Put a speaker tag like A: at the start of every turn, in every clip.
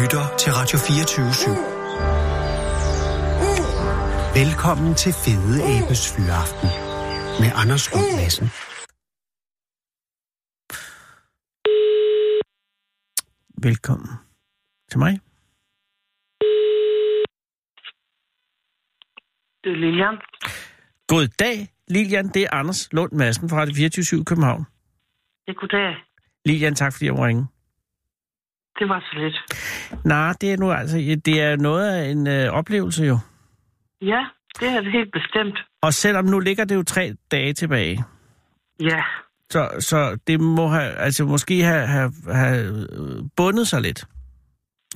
A: lytter til Radio 24 /7. Velkommen til Fede Abes Fyraften med Anders Lund Madsen.
B: Velkommen til mig.
C: Det er Lilian.
B: God dag, Lilian. Det er Anders Lund Madsen fra Radio 24 i København.
C: Ja, goddag.
B: Lilian, tak fordi jeg må ringe.
C: Det var så lidt.
B: Nej, det er nu altså det er noget af en øh, oplevelse jo.
C: Ja, det er det helt bestemt.
B: Og selvom nu ligger det jo tre dage tilbage,
C: Ja,
B: så, så det må have, altså måske have, have, have øh, bundet sig lidt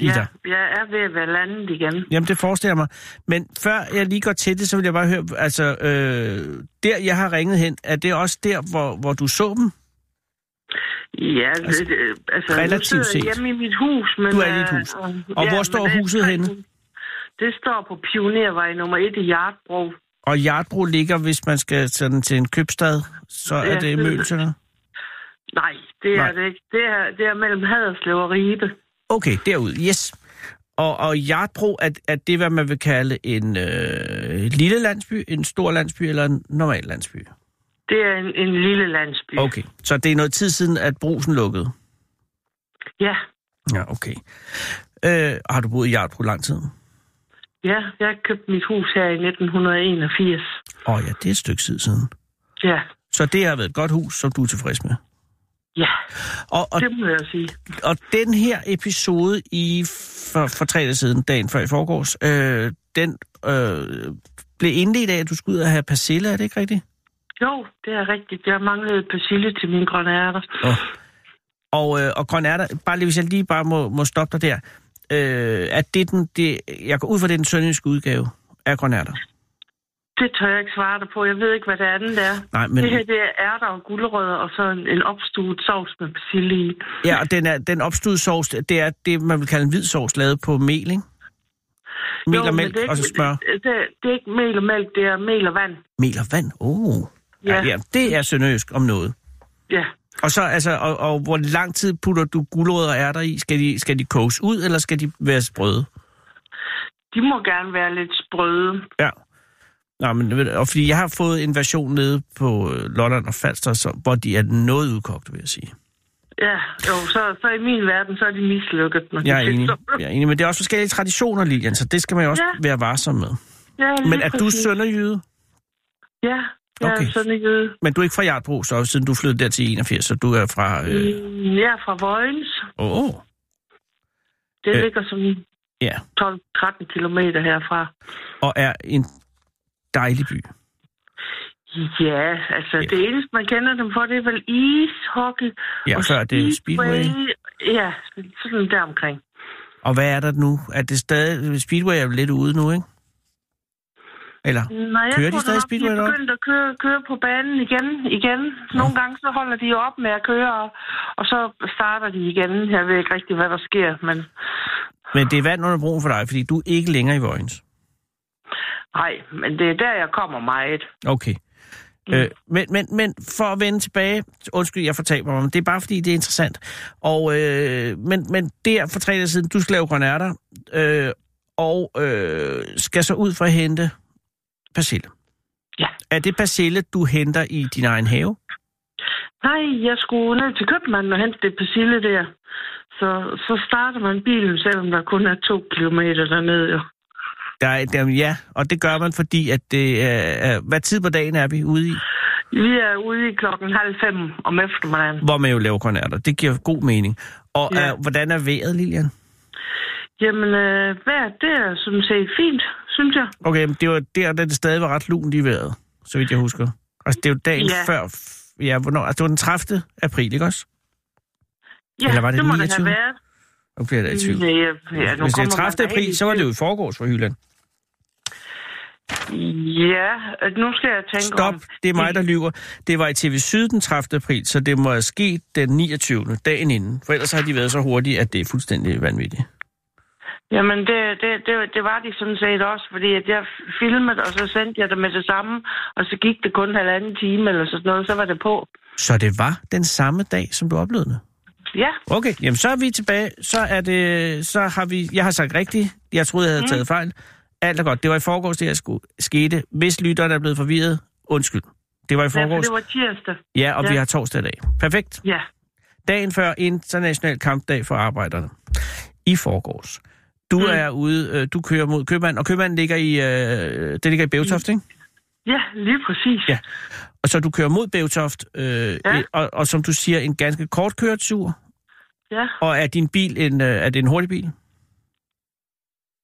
B: i
C: ja
B: dig.
C: jeg er ved at være landet igen.
B: Jamen, det forestiller jeg mig. Men før jeg lige går til det, så vil jeg bare høre, altså, øh, der jeg har ringet hen, er det også der, hvor, hvor du så dem?
C: Ja,
B: Altså,
C: altså, det, øh, altså
B: relativt
C: nu sidder jeg
B: set.
C: hjemme i mit hus. Men,
B: Du er i dit hus.
C: øh, øh,
B: Og hvor står
C: men det-
B: huset henne?
C: Det står på Pionervej nummer 1 i Jartbro.
B: Og Jartbro ligger, hvis man skal sådan til en købstad, så er
C: Ja,
B: det
C: det-
B: Mølserne.
C: Nej, det er
B: Nej.
C: det ikke. Det er, det er mellem Haderslev og Ribe.
B: Okay, derud, yes. Og, og Jartbro, er, er det, hvad man vil kalde en øh, lille landsby, en stor landsby eller en normal landsby?
C: Det er en, en lille landsby.
B: Okay, så det er noget tid siden, at brusen lukkede?
C: Ja,
B: Ja, okay. Øh, har du boet i Jartbro lang tid?
C: ja, jeg købte mit hus her i 1981.
B: Åh oh, ja, det er et stykke tid siden.
C: Ja,
B: Så det har været et godt hus, som du er tilfreds med.
C: ja,
B: Og, og,
C: det må jeg sige.
B: og den her episode i for, for tre dage siden, dagen før i forgårs, øh, den øh, blev indledt af, at du skulle ud og have persille, er det ikke rigtigt?
C: Jo, det er rigtigt. Jeg manglede persille til mine grønne ærter.
B: Og, og, øh, og grøn er der, bare lige, hvis jeg lige bare må, må stoppe dig der, øh, at det er den, det, jeg går ud fra, det er den sønderjyske udgave af grøn er der.
C: Det tør jeg ikke svare dig på. Jeg ved ikke, hvad det andet er.
B: Nej,
C: Men... Det her
B: men
C: det er ærter og gulerødder, og så en, en opstuet sovs med persille i.
B: ja, og den, er, den opstudede sovs, det er det, man vil kalde en hvid sovs, lavet på mel, ikke? Mel
C: Jo,
B: og
C: men
B: mælk,
C: det er
B: og så
C: ikke-
B: smør.
C: Det, det, det er ikke mel og mælk, det er mel og vand.
B: Mel og vand, oh. Ja.
C: Ja.
B: ja, det er sønderjysk om noget.
C: Ja.
B: Og så, altså, og, og hvor lang tid putter du gulerødder og ærter i? Skal de, skal de koges ud, eller skal de være sprøde?
C: De må gerne være lidt sprøde.
B: Ja. Nå, men, ved du- og fordi jeg har fået en version nede på øh, Lolland og Falster, så, hvor de er noget udkogt, vil jeg sige.
C: Ja, jo, så, så i min verden, så er de mislykket. Når de
B: Jeg er enig,
C: finder-
B: jeg er enig men det er også forskellige traditioner, Lilian, så det skal man jo også ja.
C: Ja.
B: være varsom med.
C: Ja, lige
B: Men er du
C: præcis.
B: sønderjyde?
C: Ja, jeg
B: Okay.
C: er sådan en jøde.
B: Men du er ikke fra Jartbro, så siden du flyttede der til 81, så du er fra... Åh, øh,
C: Mm, Jeg er fra Vojens.
B: oh,
C: Det
B: Øh.
C: ligger som
B: ja.
C: 12-13 kilometer herfra.
B: Og er en dejlig by.
C: Ja, altså
B: Ja.
C: ja. det eneste, man kender dem for, det er vel ishockey.
B: Ja,
C: og
B: før det er Speedway.
C: Ja, sådan der omkring.
B: Og hvad er der nu? Er det stadig... Speedway er jo lidt ude nu, ikke? Eller?
C: Nej, jeg
B: Kører de
C: tror,
B: stadig
C: nok,
B: Speedway
C: De er
B: deroppe?
C: begyndt at køre, køre på banen igen. igen. Nogle gange så holder de jo op med at køre, og, og så starter de igen. Jeg ved ikke rigtig, hvad der sker, men
B: Men det er vand under broen for dig, fordi du er ikke længere i Vojens.
C: nej, men det er der, jeg kommer meget.
B: Okay. Mm.
C: Mm.
B: Øh, men, men, men for at vende tilbage, undskyld, jeg fortaber mig, men det er bare fordi, det er interessant. Og, øh, men, men der for tre dage siden, du skal lave grønærter, øh, og øh, skal så ud for at hente persille.
C: Ja.
B: Er det persille, du henter i din egen have?
C: Nej, jeg skulle ned til købmanden og hente det persille der. Så, så starter man bilen, selvom der kun er to kilometer dernede. Jo.
B: Der er, der, ja, og det gør man, fordi at det er, er- hvad tid på dagen er vi ude i,
C: Vi er ude i klokken halv fem om eftermiddagen.
B: hvor man jo laver grønærter. Det giver god mening. Og
C: Ja.
B: ja. øh, hvordan er vejret, Lilian?
C: Jamen, øh, vejret, det er sådan set fint, synes jeg.
B: Okay, men det var der, da det stadig var ret lunt i vejret, så vidt jeg husker. Altså, det er jo dagen ja.
C: Ja.
B: før... f- Ja, hvornår? Altså, det var den 30. april, ikke også?
C: Ja,
B: Eller var det
C: det må det
B: 29?
C: have været.
B: Nu bliver jeg da i tvivl.
C: Ja, ja,
B: Ja,
C: nu
B: Hvis det er 30.
C: kommer man da helt
B: april,
C: i
B: så var det
C: tvivl.
B: jo i forgårs for Hyland.
C: Ja, øh, nu skal jeg tænke
B: Stop,
C: om...
B: det er mig, der lyver. Det var i TV Syd den 30. april, så det må have sket den 29. dagen inden. For ellers har de været så hurtige, at det er fuldstændig vanvittigt.
C: Jamen, det, det, det, det var de sådan set også, fordi at jeg filmede, og så sendte jeg det med det samme, og så gik det kun halvanden time eller sådan noget, så var det på.
B: Så det var den samme dag, som du oplevede det?
C: Ja,
B: Okay, jamen så er vi tilbage. Så, er det, så har vi... Jeg har sagt rigtigt. Jeg troede, jeg havde
C: Mhm.
B: mm. taget fejl. Alt er godt. Det var i forgårs, det her sku- skete. Hvis lytteren er blevet forvirret, undskyld. Det var i
C: ja for
B: forgårs.
C: det var tirsdag.
B: Ja, og
C: ja.
B: vi har torsdag i dag. Perfekt.
C: Ja,
B: Dagen før International Kampdag for Arbejderne. I forgårs. Du mm.
C: Mm.
B: er ude, øh, du kører mod Købmand, og Købmand ligger i, øh, det ligger i Bævtoft,
C: Mhm.
B: ikke?
C: ja lige præcis.
B: Ja. Og så du kører mod Bævtoft, øh,
C: Ja.
B: ja. og, og, som du siger, en ganske kort køretur.
C: ja.
B: Og er din bil en, øh, er det en hurtig bil?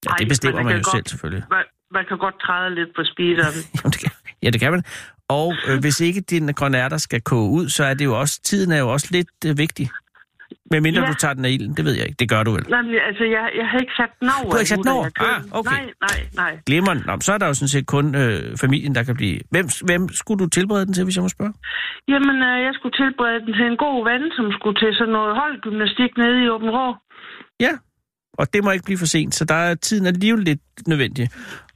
B: Ja,
C: Ej,
B: det bestemmer
C: men
B: man
C: det
B: jo
C: kan
B: selv,
C: godt-
B: selvfølgelig.
C: Man, man kan godt træde lidt på speederen.
B: Jamen, det kan, ja, det kan man. Og øh, hvis ikke dine grønærter skal koge ud, så er det jo også, tiden er jo også lidt øh, vigtig. Men mindre ja.
C: Ja.
B: du tager den af ilden, det ved jeg ikke. Det gør du vel.
C: Nej, men altså, jeg, jeg har ikke sat den over.
B: Du har ikke sat den
C: endnu, da
B: over?
C: jeg købte
B: Ah,
C: den.
B: okay.
C: Nej, nej, nej.
B: Glimmeren, Nå, men så er der jo sådan set kun øh, familien, der kan blive... Hvem, hvem skulle du tilberede den til, hvis jeg må spørge?
C: Jamen, øh, jeg skulle tilberede den til en god ven, som skulle til sådan noget holdgymnastik nede i Åben Rå.
B: Ja, og det må ikke blive for sent, så der er tiden er alligevel lidt nødvendig.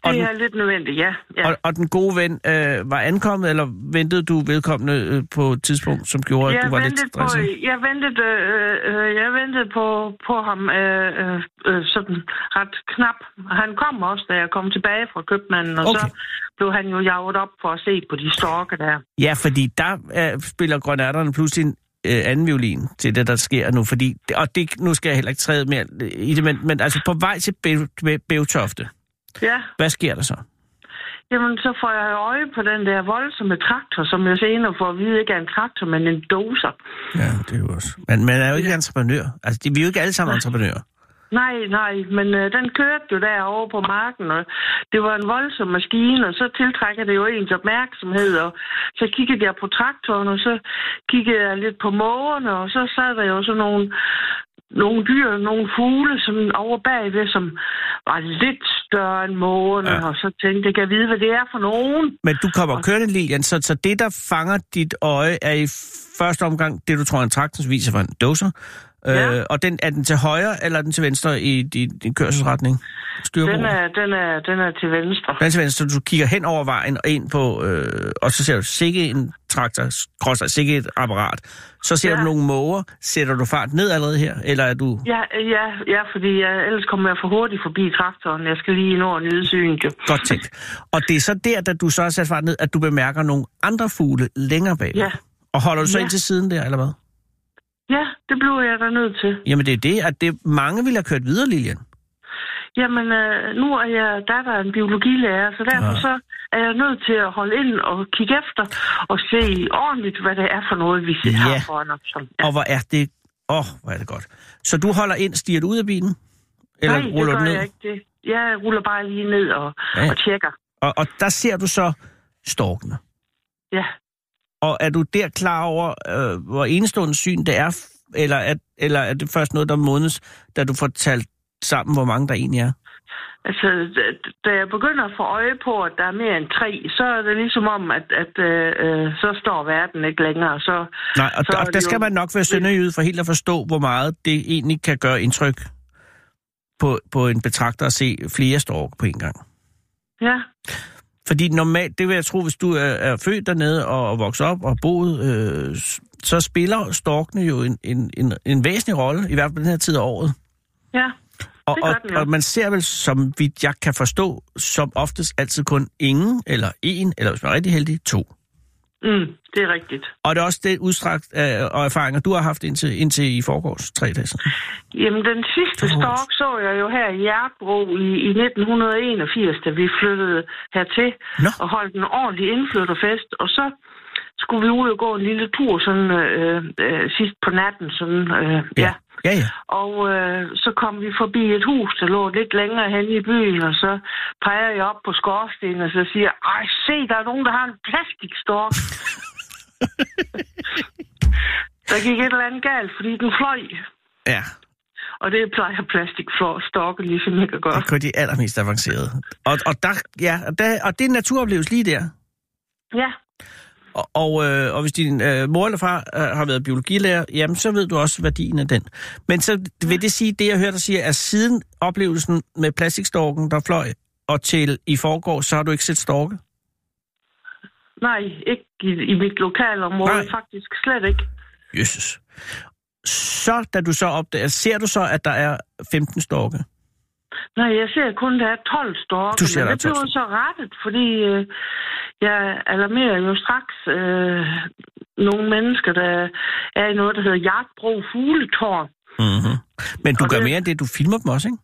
B: Og
C: Det
B: den,
C: er lidt nødvendigt, ja. ja.
B: og, og den gode ven øh, var ankommet, eller ventede du vedkommende øh, på et tidspunkt, som gjorde, at
C: jeg
B: du var lidt
C: ventede på,
B: stresset?
C: jeg ventede, øh, øh, jeg ventede på, på ham øh, øh, øh, sådan ret knap. Han kom også, da jeg kom tilbage fra købmanden, og okay. så
B: Okay.
C: blev han jo jaget op for at se på de storke der.
B: Ja, fordi der øh, spiller grønærterne pludselig en øh, anden violin til det, der sker nu. Fordi, og det, nu skal jeg heller ikke træde mere i det, men, men altså på vej til Bæv- Bæv- Bævtofte,
C: Ja,
B: hvad sker der så?
C: Jamen, så får jeg øje på den der voldsomme traktor, som jeg senere får at vide ikke er en traktor, men en doser.
B: Ja, det er jo også... Men man er jo ikke ja. entreprenør. Altså, det, vi er jo ikke alle sammen entreprenører.
C: Nej, nej, men øh, den kørte jo derovre på marken, og det var en voldsom maskine, og så tiltrækker det jo ens opmærksomhed, og så kiggede jeg på traktoren, og så kiggede jeg lidt på mågerne, og så sad der jo sådan nogle, nogle dyr, nogle fugle, som over bagved, som var lidt større end mågerne,
B: Ja.
C: ja. og så tænkte jeg, kan jeg vide, hvad det er for nogen?
B: Men du kommer kørende, Lilian, så, så det, der fanger dit øje, er i første omgang det, du tror er en traktor, som viser for en doser.
C: Ja.
B: Øh, og den, er den til højre, eller er den til venstre i din, din kørselsretning? Styrbord?
C: Den er, den, er, den er til venstre.
B: Blandt andet, så du kigger hen over vejen og ind på, øh, og så ser du sikke en traktor, krosser sikke et apparat. Så ser ja.
C: Ja.
B: du nogle måger. Sætter du fart ned allerede her, eller er du...
C: Ja, ja, ja, fordi jeg, ellers kommer jeg for hurtigt forbi traktoren. Jeg skal lige nå at nyde synet, jo.
B: Godt tænkt. Og det er så der, da du så har sat fart ned, at du bemærker nogle andre fugle længere bag.
C: Ja.
B: Og holder du så ja.
C: Ja.
B: ind til siden der, eller hvad?
C: Ja, det blev jeg da nødt til.
B: Jamen det er det, at det, mange ville have kørt videre, Lilian.
C: Jamen, øh, nu er jeg datter af en biologilærer, så derfor
B: Ja.
C: ja. så er jeg nødt til at holde ind og kigge efter og se ordentligt, hvad det er for noget, vi
B: Ja.
C: ja. har foran os. som- Ja.
B: Og hvor er det... Åh, oh, hvor er det godt. Så du holder ind, stiger du ud af bilen? Eller
C: Nej,
B: ruller
C: det
B: du
C: gør
B: ned?
C: jeg ikke det. Jeg ruller bare lige ned og,
B: Ja.
C: ja. og tjekker.
B: Og, og der ser du så storkene.
C: Ja.
B: Og er du der klar over, øh, hvor enestående syn det er, f- eller er, eller er det først noget, der månes, da du får talt sammen, hvor mange der egentlig er?
C: Altså, da- da jeg begynder at få øje på, at der er mere end tre, så er det ligesom om, at, at øh, øh, så står verden ikke længere. Så,
B: Nej, og,
C: Så er
B: og
C: det
B: der
C: jo-
B: skal man nok være sønderjyde for helt at forstå, hvor meget det egentlig kan gøre indtryk på, på en betragter at se flere stork på en gang.
C: ja.
B: Fordi normalt, det vil jeg tro, hvis du er, er født dernede og, og vokset op og boet, øh, s- så spiller storkene jo en, en, en, en væsentlig rolle, i hvert fald på den her tid af året.
C: Ja,
B: Og,
C: Det gør
B: og,
C: den jo.
B: og man ser vel, som vidt jeg kan forstå, som oftest altid kun ingen, eller en, eller hvis man er rigtig heldig, to.
C: mm, det er rigtigt.
B: Og det er også det udstrakt øh, og erfaringer, du har haft indtil, indtil i forgårs tre dage siden.
C: Jamen, den sidste
B: Åh.
C: stork så jeg jo her i Hjertbro i, i 1981, da vi flyttede hertil
B: Nå.
C: og holdt en ordentlig indflytterfest. Og så skulle vi ud og gå en lille tur sådan øh, øh, sidst på natten. Sådan, øh, ja. ja.
B: Ja, ja.
C: Og øh, så kom vi forbi et hus, der lå lidt længere hen i byen, og så peger jeg op på skorstenen, og så siger jeg, ej, se, der er nogen, der har en plastikstork. der gik et eller andet galt, fordi den fløj.
B: Ja,
C: Og det plejer plastikstorke ligesom ikke at gøre.
B: det er kun de allermest avancerede. Og, og, der, ja, og, der, og det er en naturoplevelse lige der.
C: Ja,
B: Og, og, øh, og hvis din øh, mor eller far øh, har været biologilærer, jamen så ved du også værdien af den. Men så vil det sige, det jeg hørte dig sige, er siden oplevelsen med plastikstorken, der fløj, og til i forgår, så har du ikke set storke?
C: nej, ikke i, i mit lokalområde,
B: Nej.
C: nej. faktisk slet ikke.
B: Jesus. så, da du så opdager, altså, ser du så, at der er 15 storke?
C: Nej, jeg ser kun, der er 12 storke.
B: Du ser,
C: men
B: der er
C: det blev
B: 12
C: så rettet, fordi øh, jeg alarmerer jo straks øh, nogle mennesker, der er i noget, der hedder Jagtbro Fugletårn.
B: Mm-hmm. Men du
C: Og
B: gør
C: det-
B: mere end det, du filmer dem også, ikke?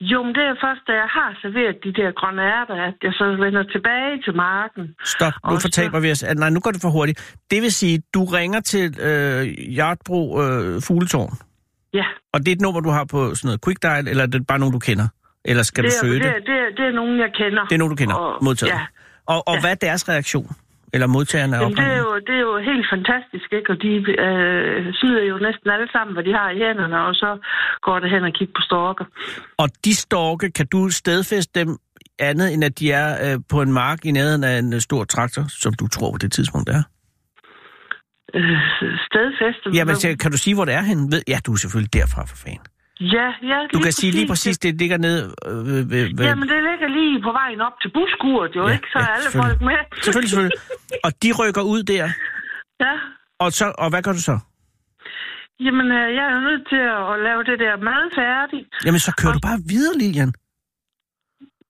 C: Jo, men det er først, da jeg har serveret de der grønne ærter, at jeg så vender tilbage til marken.
B: Stop, nu
C: Også-
B: fortaber vi os. Ah, Nej, nu går det for hurtigt. Det vil sige, du ringer til øh, Jartbro øh, Fugletårn,
C: Ja,
B: og det er et nummer, du har på sådan noget quick dial, eller er det bare nogen, du kender? Eller skal
C: det
B: du
C: er,
B: søge det?
C: det, er, det, er, det er nogen, jeg kender.
B: Det er nogen, du kender,
C: Og-
B: modtaget.
C: Ja.
B: Og, og ja.
C: Ja.
B: hvad er deres reaktion? Eller modtagerne af
C: Jamen, det, er
B: opringningen?
C: jo, det er jo helt fantastisk, ikke? Og de øh, smider jo næsten alle sammen, hvad de har i hænderne, og så går det hen og kigger på storker.
B: Og de storke, kan du stedfæste dem andet, end at de er øh, på en mark i nærheden af en øh, stor traktor, som du tror på det tidspunkt det er?
C: Øh, stedfæste.
B: Ja, men så kan du sige, hvor det er henne? Ved- Ja, du er selvfølgelig derfra, for fanden.
C: ja, ja,
B: Du kan sige lige præcis, det ligger nede øh, ved... ved, ved.
C: Jamen, det ligger lige på vejen op til buskurt, jo,
B: Ja,
C: ja, ikke? Så
B: ja,
C: er alle
B: selvfølgelig.
C: folk med.
B: Selvfølgelig, selvfølgelig. Og de rykker ud der,
C: Ja.
B: og, så, og hvad gør du så?
C: Jamen, øh, jeg er jo nødt til at at lave det der mad færdigt.
B: Jamen, så kører du bare videre, Lilian.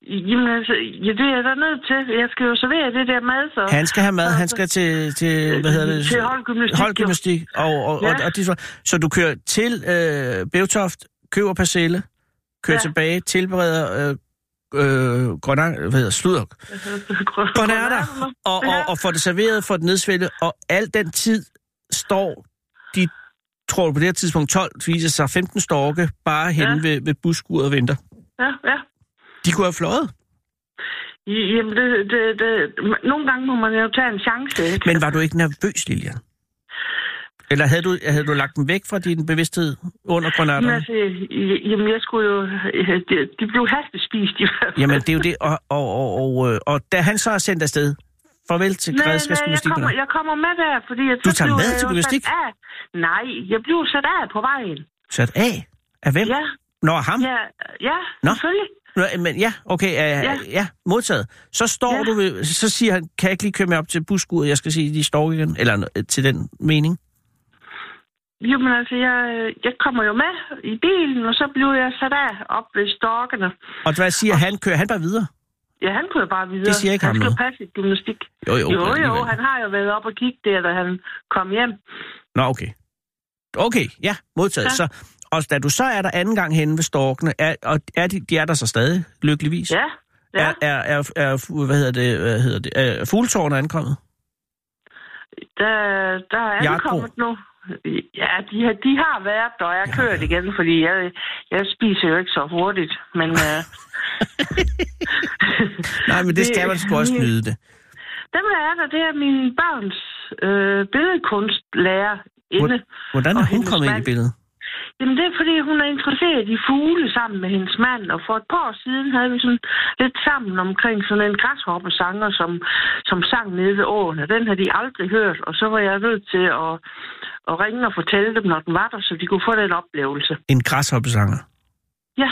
C: Jamen, altså, ja, det er jeg da nødt til. Jeg skal jo servere det der mad, så...
B: Han skal have mad, han skal til, til hvad hedder det?
C: Til holdgymnastik, jo.
B: Holdgymnastik. Og, og, ja. og,
C: Ja.
B: og det, så, så du kører til øh, Bevtoft, køber persille, kører ja.
C: Ja.
B: tilbage, tilbereder øh, øh, grønne, hvad hedder sludder, grønne ærter, og, og, og får det serveret, får det nedsvældet, og al den tid står de, tror du på det her tidspunkt, 12, viser sig 15 storke, bare henne ja.
C: Ja.
B: ved, ved buskuret og venter.
C: Ja, ja.
B: De kunne have fløjet.
C: Jamen, det, det, det, nogle gange må man jo tage en chance, ikke?
B: Men var du ikke nervøs, Lilian? Eller havde du, havde du lagt dem væk fra din bevidsthed under
C: Jamen,
B: granaterne?
C: altså, jamen, jeg skulle jo... De, de blev hastespist i hvert fald.
B: Jamen, det er jo det. Og, og, og, og, øh, og da han så er sendt afsted, farvel til
C: Nej, nej, jeg
B: grædskabsgymnastikken.
C: kommer, jeg kommer med der, fordi... Jeg,
B: Du tager med til gymnastik?
C: gymnastik? Nej, jeg blev sat af på vejen.
B: Sat af? Af hvem?
C: Ja,
B: Nå, af ham?
C: ja, ja,
B: Nå.
C: selvfølgelig.
B: Nå, men ja, okay, ja, ja.
C: Ja.
B: ja modtaget. Så står
C: Ja.
B: du ved, så siger han, kan jeg ikke lige køre med op til buskuret, jeg skal sige, de står igen, eller øh, til den mening.
C: Jamen altså, jeg, jeg kommer jo med i bilen, og så blev jeg sat af op ved storkene.
B: Og hvad siger han? Kører han bare videre?
C: Ja, han kunne jo bare videre.
B: Det siger ikke
C: han
B: ham
C: skulle
B: noget.
C: passe sit gymnastik.
B: Jo, jo.
C: Jo, jo,
B: alligevel.
C: han har jo været op og kigge der, da han kom hjem.
B: Nå, okay. Okay, ja, modtaget. Ja.
C: Ja.
B: Så, og da du så er der anden gang henne ved storkene, er, og er de, de er der så stadig, lykkeligvis?
C: Ja, ja.
B: Er, er, er, er, fu- hvad hedder det, hvad hedder det, er fugletårnet ankommet?
C: Der, der er
B: Jarko.
C: ankommet nu. Ja, de har, de har været der, og jeg har kørt igen, fordi jeg, jeg spiser jo ikke så hurtigt. Men øh,
B: Nej, men det
C: Det-
B: skal man sgu også nyde det.
C: dem her er der, det er min børns øh, billedkunstlærer inde.
B: Hvor- Hvordan er
C: Og
B: hun
C: hendes
B: kommet ind i
C: mand.
B: billedet?
C: Jamen det er fordi, hun er interesseret i fugle sammen med hendes mand, og for et par år siden havde vi sådan lidt sammen omkring sådan en græshoppesanger, som, som sang nede ved åen, og den havde de aldrig hørt, og så var jeg nødt til at, at ringe og fortælle dem, når den var der, så de kunne få den oplevelse.
B: En græshoppesanger.
C: Ja,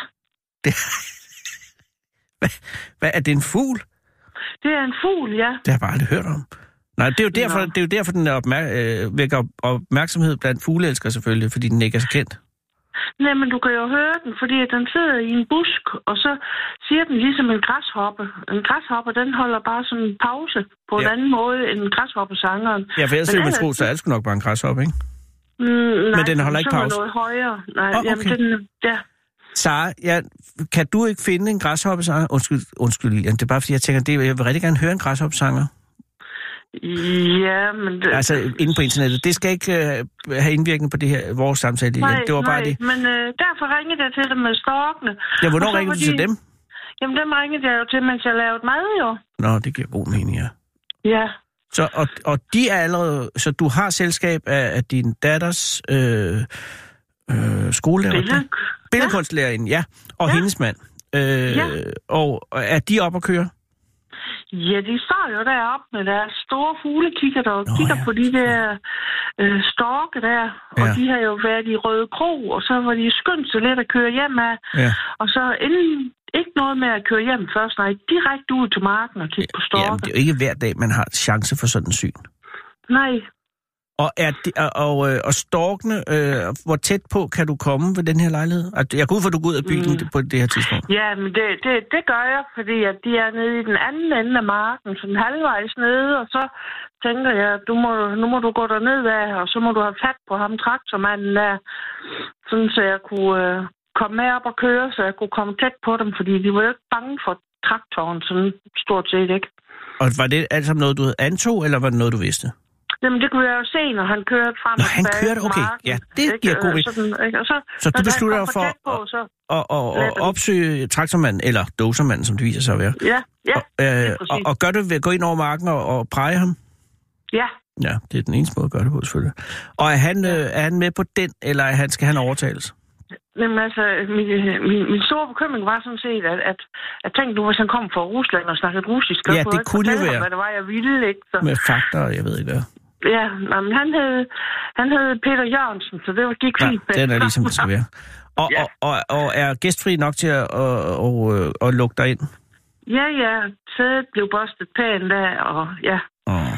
B: Hvad, er det en fugl?
C: det er en fugl, ja.
B: Det har jeg bare aldrig hørt om. Nej, det er jo derfor,
C: Nå.
B: det er jo derfor den er opmær- øh, vækker op- opmærksomhed blandt fugleelskere selvfølgelig, fordi den ikke er så kendt.
C: Nej, men du kan jo høre den, fordi den sidder i en busk, og så siger den ligesom en græshoppe. En græshoppe, den holder bare sådan en pause på en
B: Ja.
C: anden måde end græshoppesangeren.
B: Ja, for ellers
C: Men
B: ville man
C: ellers-
B: tro, så er det sgu nok bare en græshoppe, ikke?
C: Mm, nej,
B: den holder ikke
C: så er man
B: pause.
C: noget højere. Nej,
B: Åh,
C: oh, jamen,
B: okay.
C: den, ja.
B: Sara, ja, kan du ikke finde en græshoppesanger? Undskyld, undskyld Lilian, det er bare fordi, jeg tænker, det, jeg vil rigtig gerne høre en græshoppesanger.
C: ja, men... Det,
B: Altså inde på internettet. Det skal ikke øh, have indvirkning på det her, vores samtale, Lilian. Det var bare det.
C: men øh, derfor ringede jeg til dem med storkene.
B: Ja,
C: Og
B: hvornår
C: så
B: ringer du
C: var
B: til
C: de-
B: dem?
C: Jamen, dem ringede jeg jo til, mens jeg lavede mad, jo.
B: Nå, det giver god mening, ja.
C: Ja,
B: Så, og, og de er allerede, så du har selskab af, af din datters øh, øh, skolelærer?
C: billede.
B: Billedkunstlærerinde, ja. Og ja.
C: Ja.
B: hendes mand. Øh,
C: Ja.
B: Og og er de op at køre?
C: Ja, de står jo deroppe med deres store fuglekikker, der
B: Nå,
C: Nå, kigger
B: ja.
C: ja. på de der øh, storke der. Og
B: Ja.
C: de har jo været i Røde Kro, og så var de skyndt så let at køre hjem af.
B: Ja.
C: Og så inden, ikke noget med at køre hjem først, nej, direkte ud til marken og kigge på storke.
B: Jamen, det er jo ikke hver dag, man har chance for sådan en syn.
C: Nej,
B: Og, er det, og, og, øh, og storkene, øh, hvor tæt på kan du komme ved den her lejlighed? At- Jeg kunne ud for, at du går ud af bilen mm. på det her tidspunkt.
C: Ja, men det, det, det gør jeg, fordi at de er nede i den anden ende af marken, sådan halvvejs nede, og så tænker jeg, du må, nu må du gå derned af, og så må du have fat på ham traktormanden der, sådan så jeg kunne øh, komme med op og køre, så jeg kunne komme tæt på dem, fordi de var jo ikke bange for traktoren, sådan stort set ikke.
B: Og var det alt sammen noget, du havde antog, eller var det noget, du vidste?
C: Jamen, det kunne jeg jo se, når han kørte frem
B: Nå,
C: og
B: han
C: tilbage
B: kørte,
C: på
B: okay.
C: marken,
B: Ja, det
C: ikke?
B: giver god
C: Øh,
B: mening.
C: sådan, ikke? Og så,
B: Så du
C: når han
B: beslutter
C: kom
B: dig for
C: tæt På, så,
B: Og, og, og
C: Netop.
B: opsøge traktormanden, eller dosermanden, som det viser sig at være.
C: ja, ja,
B: Ja, øh,
C: lige præcis.
B: og, og gør det ved at gå ind over marken og, og prege ham?
C: ja.
B: Ja, det er den eneste måde at gøre det på, selvfølgelig. Og er han, øh, er han med på den, eller er han, skal han overtales?
C: Jamen altså, min, min, min store bekymring var sådan set, at, at, at tænk nu, hvis han kom fra Rusland og snakkede russisk, så
B: Ja,
C: kunne jeg
B: det
C: ikke
B: kunne jo
C: fortælle
B: være.
C: Ham, hvad det var, jeg ville, ikke? Så,
B: Med fakta, og jeg ved ikke hvad.
C: ja, nå, men han hed, han hed Peter Jørgensen, så det var- gik fint.
B: Ja, den er ligesom det skal være. Og,
C: Ja.
B: og, og, og er gæstfri nok til at, og, og, øh, at lukke dig ind?
C: Ja, ja, sædet blev bustet pænt af, og ja.
B: Oh.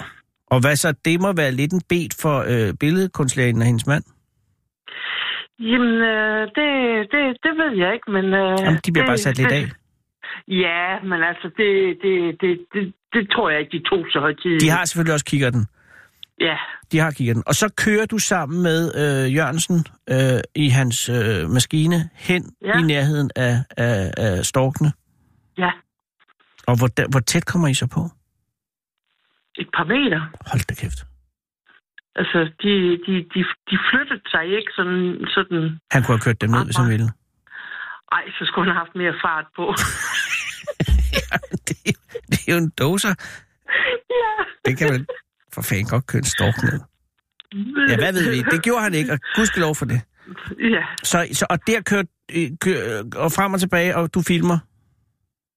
B: Og hvad så? Det må være lidt en bed for øh, billedkunstlægen og hendes mand.
C: Jamen, øh, det, det, det ved jeg ikke, men... Øh,
B: Jamen, de bliver
C: det,
B: bare sat lidt
C: det-
B: af.
C: Ja, men altså, det, det, det, det, det tror jeg ikke, de tog så højtidligt.
B: De har selvfølgelig også kikkerten.
C: Ja,
B: De har kikkerten. Og så kører du sammen med øh, Jørgensen øh, i hans øh, maskine hen ja.
C: Ja.
B: i nærheden af, af, af storkene.
C: ja.
B: Og hvor, da- hvor tæt kommer I så på?
C: Et par meter.
B: Hold da kæft.
C: Altså, de, de, de, de flyttede sig ikke sådan... sådan
B: Han kunne have kørt dem ned, hvis han ville.
C: ej, så skulle han have haft mere fart på.
B: det, er jo- det er jo en doser.
C: ja.
B: Den kan man for fanden godt køre en stork ned. Ja, hvad ved vi? Det gjorde han ikke, og gudskelov for det.
C: Ja.
B: Så, så og der kørte øh, kør, og frem og tilbage, og du filmer.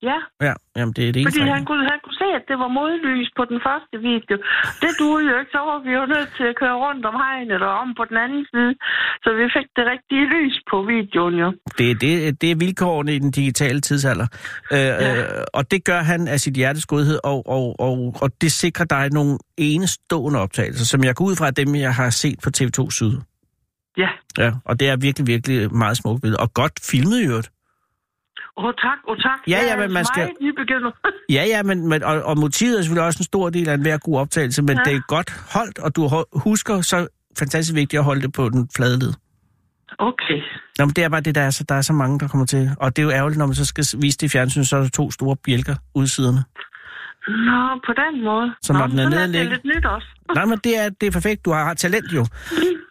C: Ja,
B: Ja, jamen det er det eneste.
C: fordi han
B: rigtige.
C: kunne, han kunne se, at det var modlys på den første video. Det duede jo ikke, så var vi jo nødt til at køre rundt om hegnet eller om på den anden side. Så vi fik det rigtige lys på videoen jo.
B: Det, er det, det er vilkårene i den digitale tidsalder. Øh, ja.
C: Ja.
B: øh, og det gør han af sit hjertes godhed, og, og, og, og det sikrer dig nogle enestående optagelser, som jeg går ud fra af dem, jeg har set på TV2 Syd.
C: Ja.
B: Ja, og det er virkelig, virkelig meget smukt billede. Og godt filmet i øvrigt.
C: Åh, oh, tak, åh, oh, tak.
B: Ja,
C: Jeg
B: ja,
C: er
B: men man skal-
C: Meget nybegynder.
B: Ja, ja, men, men og, og motivet er selvfølgelig også en stor del af enhver god optagelse, men ja.
C: Ja.
B: det er godt holdt, og du ho- husker så fantastisk vigtigt at holde det på den flade led.
C: Okay.
B: Nå, men det er bare det, der er, så, der er så mange, der kommer til. Og det er jo ærgerligt, når man så skal s- vise det i fjernsynet, så er der to store bjælker udsiderne.
C: Nå, på den måde.
B: Så
C: Nå,
B: når den er
C: sådan
B: nede
C: det
B: og
C: lidt nyt også.
B: Nej, men det er, det er perfekt. Du har talent jo.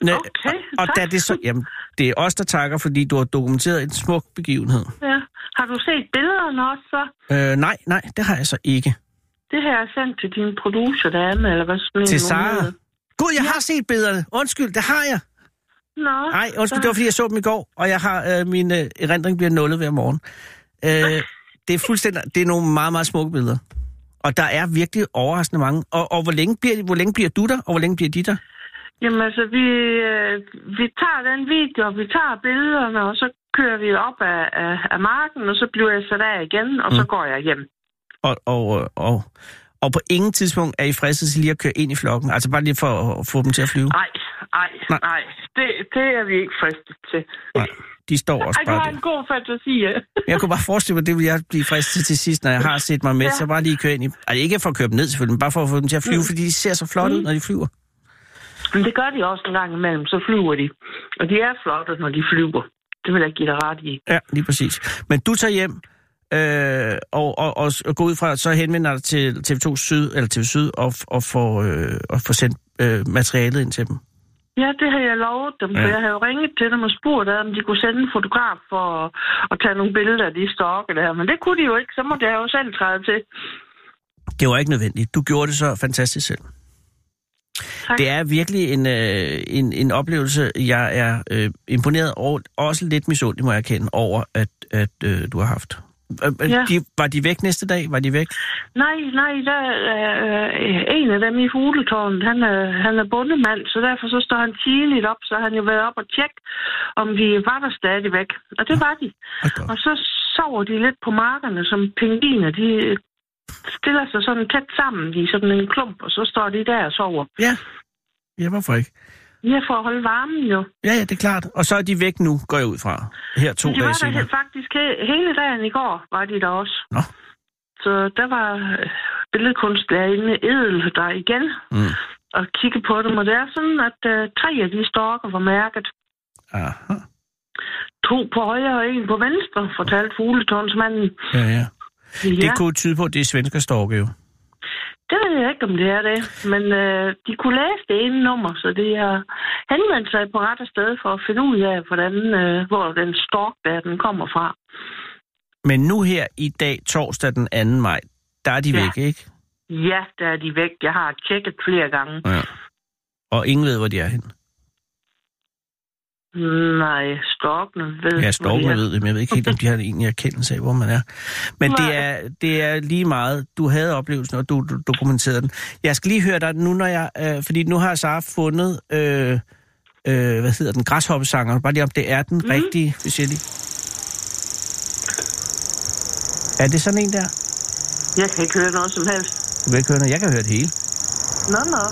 B: Nå,
C: Okay,
B: og, og da
C: tak.
B: det så, jamen, det er os, der takker, fordi du har dokumenteret en smuk begivenhed.
C: Ja. Har du set billederne også, så?
B: Øh, nej, nej, det har jeg så ikke.
C: Det her er sendt til din producer, der er med, eller hvad sådan en
B: Til
C: nu
B: Sara.
C: hedder.
B: Gud, jeg har set billederne. Undskyld, det har jeg.
C: Nå.
B: Nej, undskyld,
C: så-
B: det var fordi, jeg så dem i går, og jeg har øh, min øh, erindring bliver nullet hver morgen. Øh, det er fuldstændig, det er nogle meget, meget smukke billeder. Og der er virkelig overraskende mange. Og, og hvor, længe bliver, hvor længe bliver du der, og hvor længe bliver de der?
C: Jamen altså, vi, øh, vi tager den video, og vi tager billederne, og så kører vi op af, af, af marken, og så bliver jeg sat af igen, og mm. så går jeg hjem.
B: Og, og, øh, og, og på ingen tidspunkt er I fristet til lige at køre ind i flokken. Altså bare lige for at få dem til at flyve.
C: Nej, nej,
B: Nej.
C: nej. Det, det er vi ikke fristet til.
B: Nej, de står også
C: Ej, du
B: bare
C: har
B: der.
C: en god fantasi. ja.
B: Jeg kunne bare forestille mig, det vil jeg blive fristet til sidst, når jeg har set mig med.
C: Ja.
B: Så bare lige køre ind i... Altså ikke for at køre dem ned selvfølgelig, men bare for at få dem til at flyve, fordi de ser så flotte ud, når de flyver.
C: Men det gør de også en gang imellem, så flyver de. Og de er flotte, når de flyver. Det vil jeg give dig ret i.
B: Ja, lige præcis. Men du tager hjem øh, og, og, og, og går ud fra, så henvender dig til TV2 Syd, eller TV Syd, og, f- og, får, øh, og får sendt øh, materialet ind til dem.
C: Ja, det har jeg lovet dem, for
B: Ja.
C: ja. jeg har jo ringet til dem og spurgt ad, om de kunne sende en fotograf for at, at tage nogle billeder af de stokke der. Men det kunne de jo ikke, så måtte jeg jo selv træde til.
B: Det var ikke nødvendigt. Du gjorde det så fantastisk selv.
C: Tak.
B: Det er virkelig en, øh, en, en oplevelse, jeg er øh, imponeret over, også lidt misundelig, må jeg erkende, over, at, at øh, du har haft. Øh, øh,
C: Ja.
B: De, var de væk næste dag? Var de væk?
C: Nej, nej, der er øh, en af dem i fugletårnet, han er, han er bundemand, så derfor så står han tidligt op, så har han jo været op og tjekke, om de var der stadigvæk. Og det var de.
B: Hold da op.
C: Og så sover de lidt på markerne, som pingviner. De øh, stiller sig sådan tæt sammen i sådan en klump, og så står de der og sover.
B: Ja. Ja, hvorfor ikke?
C: Ja, for at holde varmen jo.
B: Ja, ja, det er klart. Og så er de væk nu, går jeg ud fra. Her to
C: Men de
B: dage
C: var der
B: senere.
C: he- faktisk he- hele dagen i går, var de der også.
B: Nå.
C: Så der var øh, billedkunstlærerinde Edel der igen
B: Mm.
C: og kigge på dem. Og det er sådan, at øh, tre af de storker var mærket.
B: Aha.
C: To på højre og en på venstre, fortalte fugletårnsmanden.
B: Ja, ja.
C: Ja,
B: Det kunne tyde på, at det er svensker storke jo.
C: det ved jeg ikke, om det er det. Men øh, de kunne læse det ene nummer, så de har henvendt sig på rette sted for at finde ud af, hvordan, øh, hvor den stork der, den kommer fra.
B: Men nu her i dag, torsdag den 2. maj, der er de
C: Ja.
B: væk, ikke?
C: Ja, der er de væk. Jeg har tjekket flere gange.
B: Ja. Og ingen ved, hvor de er henne.
C: Nej, storkene ved.
B: Ja, storkene
C: hvor de er.
B: ved det, men jeg ved ikke helt, om de har egentlig erkendelse af, hvor man er. Men det
C: Nej.
B: er, det er lige meget. Du havde oplevelsen, og du, du dokumenterede den. Jeg skal lige høre dig nu, når jeg... Øh, fordi nu har Sara fundet... Øh, øh, hvad hedder den? Græshoppesanger. Bare lige om det er den
C: Mhm.
B: mm. rigtige, hvis jeg lige... Er det sådan en der?
C: Jeg kan ikke høre noget som helst.
B: Du kan ikke høre noget. Jeg kan høre det hele.
C: Nå, nå.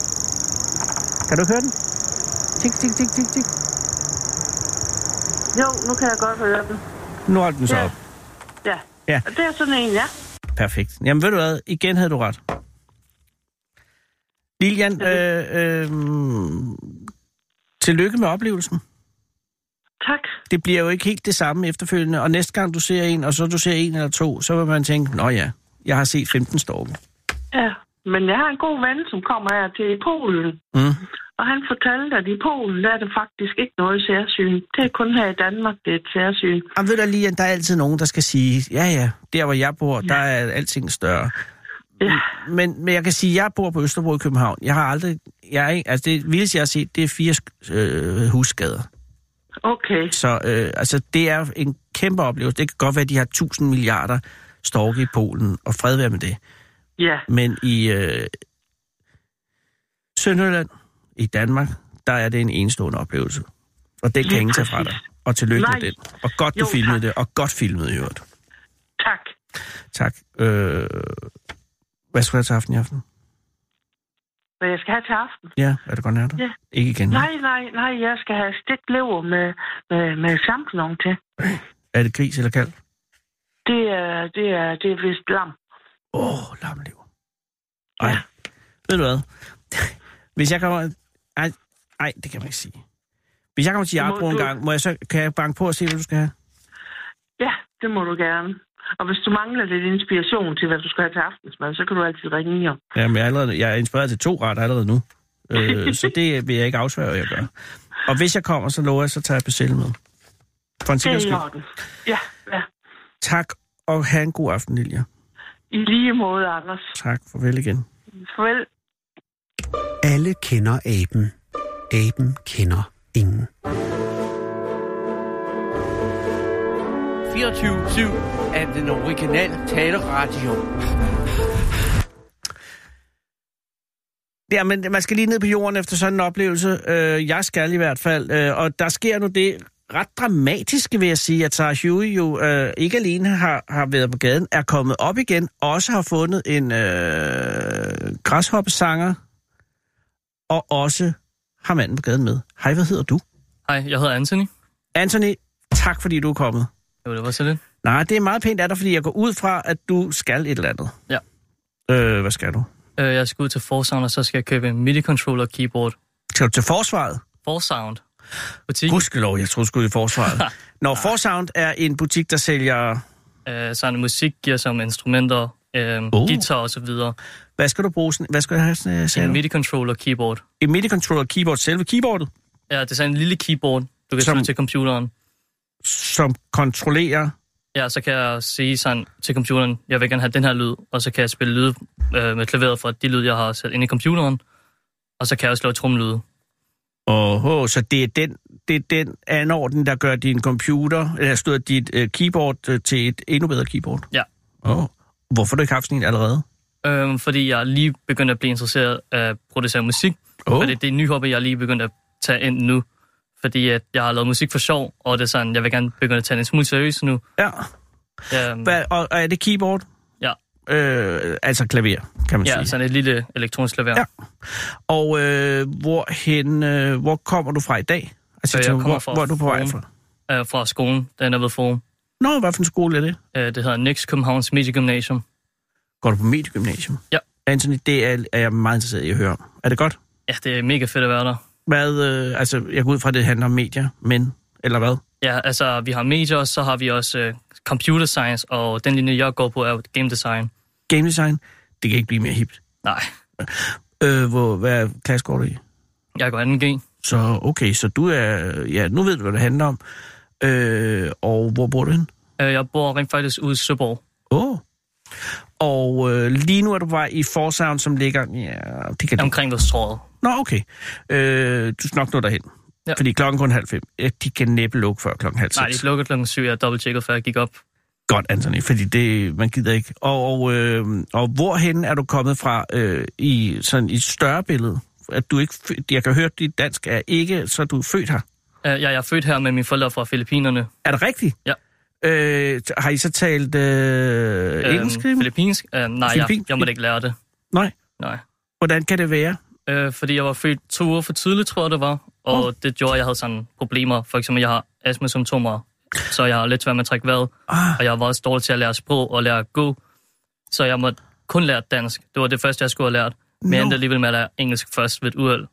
B: Kan du høre den? Tik, tik, tik, tik, tik.
C: Jo, nu kan jeg godt høre den.
B: Nu holdt den så
C: Ja.
B: op.
C: Ja.
B: Ja.
C: Og det er sådan en, ja.
B: Perfekt. Jamen ved du hvad, igen havde du ret. Lilian, øh, øh, tillykke med oplevelsen.
C: Tak.
B: Det bliver jo ikke helt det samme efterfølgende, og næste gang du ser en, og så du ser en eller to, så vil man tænke, nå ja, jeg har set 15 storme.
C: Ja. Men jeg har en god ven, som kommer her til Polen.
B: Mm.
C: Og han fortalte, at i Polen, der er det faktisk ikke noget særsyn. Det er kun her i Danmark, det er et særsyn.
B: Jamen ved du, Lilian, der er altid nogen, der skal sige, ja ja, der hvor jeg bor, der er alting større.
C: Ja.
B: Men, men jeg kan sige, at jeg bor på Østerbro i København. Jeg har aldrig... Jeg er, ikke- altså det vildeste, jeg har set, det er fire sk- øh, husskader.
C: Okay.
B: Så øh, altså, det er en kæmpe oplevelse. Det kan godt være, at de har 1000 milliarder storke i Polen, og fred være med det.
C: Ja.
B: Men i øh, Sønderjylland, i Danmark, der er det en enestående oplevelse. Og det kan
C: Lige
B: ingen tage fra dig.
C: præcis.
B: Og tillykke
C: Nej.
B: med den. Og godt, du
C: Jo,
B: filmede
C: tak.
B: det, og godt filmet i øvrigt.
C: Tak.
B: Tak. Øh, hvad skal du have til aften i aften?
C: Hvad jeg skal have til aften?
B: Ja, er det godt nær dig?
C: Ja.
B: Ikke igen.
C: Nej, nej, nej. Jeg skal have stegt lever med, med, med champignon til.
B: Er det gris eller kalv?
C: Det er, det er, det er vist lam.
B: Åh, oh, lammeliv. Ej,
C: Ja.
B: ved du hvad? Hvis jeg kommer... Ej, ej, det kan man ikke sige. Hvis jeg kommer til
C: Det må
B: Jarbro en
C: du-
B: gang, må jeg så, kan jeg banke på og se, hvad du skal have?
C: Ja, det må du gerne. Og hvis du mangler lidt inspiration til, hvad du skal have til aftensmad, så kan du altid ringe jo.
B: Jamen, jeg er, allerede, jeg er inspireret til to retter allerede nu. Øh, så det vil jeg ikke afsvære, at jeg gør. Og hvis jeg kommer, så lover jeg, så tager jeg bestil med. For en
C: Det
B: sikkerheds
C: er i
B: skyld.
C: orden. Ja, ja.
B: Tak, og have en god aften, Lilja.
C: I lige måde, Anders.
B: Tak, farvel igen.
C: Farvel.
A: Alle kender aben. Aben kender ingen.
D: 24-7 af den originale taleradio.
B: Ja, men man skal lige ned på jorden efter sådan en oplevelse. Øh, jeg skal i hvert fald. Øh, og der sker nu det ret dramatiske, vil jeg sige, at Sarah Huey jo øh, ikke alene har, har været på gaden, er kommet op igen, også har fundet en øh, græshoppesanger, og også har manden på gaden med. Hej, hvad hedder du?
E: Hej, jeg hedder Anthony.
B: Anthony, tak fordi du er kommet.
E: Jo, det var så lidt.
B: Nej, det er meget pænt af dig, fordi jeg går ud fra, at du skal et eller andet.
E: Ja.
B: Øh, hvad skal du?
E: Øh, jeg skal ud til Forsound, og så skal jeg købe en MIDI-controller og keyboard.
B: Skal du til forsvaret?
E: Forsound. Butik.
B: Gudskelov, jeg troede sgu i forsvaret. Når Forsound er en butik, der sælger...
E: Øh, sådan musik giver som instrumenter, øh,
B: Oh.
E: guitar og så videre.
B: Hvad skal du bruge sådan... Hvad skal du have sådan øh,
E: En
B: sagde du?
E: MIDI-controller og keyboard.
B: En MIDI-controller keyboard, selve keyboardet,
E: Ja, det er sådan en lille keyboard, du kan
B: Som-
E: som... til computeren.
B: som kontrollerer...
E: Ja, så kan jeg sige sådan til computeren, jeg vil gerne have den her lyd, og så kan jeg spille lyd øh, med klaveret fra de lyd, jeg har sat ind i computeren. Og så kan jeg også lave trumlyde.
B: Åh, oh, så det er, den, det er den anorden, der gør din computer, eller støder dit øh, keyboard øh, til et endnu bedre keyboard?
E: Ja.
B: Åh, oh. hvorfor har du ikke haft sådan en allerede?
E: Øh, fordi jeg er lige begyndt at blive interesseret af at producere musik,
B: Åh,
E: Oh. Fordi det er en ny hobby, jeg er lige begyndt at tage ind nu. Fordi at jeg har lavet musik for sjov, og det er sådan, jeg vil gerne begynde at tage det en smule seriøst nu.
B: ja.
E: Um,
B: Hvad, og, og er det keyboard?
E: Ja.
B: øh, altså klaver, kan man
E: Ja,
B: sige.
E: sådan et lille elektronisk klaver.
B: Ja. Og øh, hvor, hen, øh, hvor kommer du fra i dag? Altså,
E: Øh, jeg
B: til,
E: kommer
B: hvor,
E: fra
B: hvor er du på vej
E: Forum.
B: fra?
E: Øh, fra skolen, den er ved forum.
B: Nå, hvad for en skole er det?
E: Øh, det hedder Nix Københavns Mediegymnasium.
B: Går du på mediegymnasium?
E: Ja.
B: Anthony, det er, er jeg meget interesseret i at høre om. Er det godt?
E: Ja, det er mega fedt at være der.
B: Hvad, øh, altså, jeg går ud fra, at det handler om medier, men, eller hvad?
E: Ja, altså, vi har medier, og så har vi også øh, computer science, og den linje, jeg går på, er jo game design.
B: Game design, det kan ikke blive mere hipt.
E: Nej,
B: Øh, hvor, hvad klasse går du i?
E: jeg går 2G.
B: Så okay, så du er, ja, nu ved du, hvad det handler om. Øh, og hvor bor du hen?
E: Øh, jeg bor rent faktisk ude i Søborg.
B: Åh. Oh. Og øh, lige nu er du på vej i Forsound, som ligger... Ja, det kan du
E: omkring Vestrådet.
B: Nå, okay. Øh, du skal nok nå derhen. Ja.
E: Ja.
B: Fordi klokken kun halv fem. Ja, de kan næppe lukke før klokken halv seks.
E: Nej, de lukkede klokken syv, jeg dobbelttjekkede, før jeg gik op.
B: Godt, Anthony, fordi det, man gider ikke. Og, og, øh, og hvorhen er du kommet fra øh, i sådan i et større billede? At du ikke, fø- jeg kan høre, at dit dansk er ikke, så du er født her.
E: Øh, jeg, jeg er født her med mine forældre fra Filippinerne.
B: Er det rigtigt?
E: Ja.
B: Øh, har I så talt øh,
E: Øhm,
B: engelsk?
E: Filippinsk? Øh, nej, jeg,
B: Filippin-
E: jeg måtte ikke lære det.
B: Nej.
E: Nej.
B: Hvordan kan det være?
E: Øh, fordi jeg var født to uger for tidligt, tror jeg det var. Og
B: Åh.
E: det gjorde, at jeg havde sådan problemer. For eksempel, jeg har astmasymptomer, så jeg har lidt svært med at trække vejret.
B: Ah,
E: Og jeg var også dårlig til at lære sprog og lære at gå. Så jeg måtte kun lære dansk. Det var det første, jeg skulle have lært. Men jeg
B: Nå.
E: endte alligevel med at lære engelsk først ved et uheld.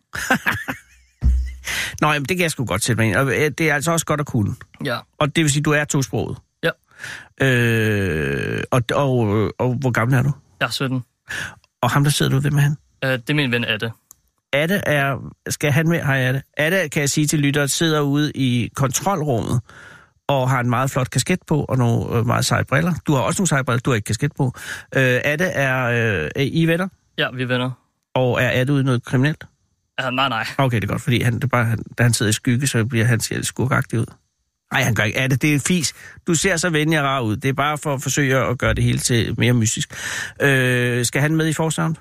B: Nå, jamen, det kan jeg sgu godt sætte mig ind. i. Og øh, det er altså også godt at kunne.
E: Ja.
B: Og det vil sige, du er tosproget?
E: Ja.
B: Øh, og, og, og hvor gammel er du?
E: Jeg er 17.
B: Og ham, der sidder du ved med han?
E: Øh, det er min ven Atte.
B: Atte er, skal han med? Hej Atte. Atte, kan jeg sige til lytteren, sidder ude i kontrolrummet og har en meget flot kasket på og nogle øh, meget seje briller. Du har også nogle seje briller, du har ikke kasket på. Øh, Atte er, øh, er I venner,
E: Ja, vi er venner.
B: og er Atte ude i noget kriminelt?
E: Uh, nej, nej.
B: Okay, det er godt, fordi han, det er bare, han, da han sidder i skygge, så bliver han ser lidt skurkagtig ud. Nej, han gør ikke. Er det, det er fis. Du ser så venlig og rar ud. Det er bare for at forsøge at gøre det hele til mere mystisk. Øh, skal han med i forsound?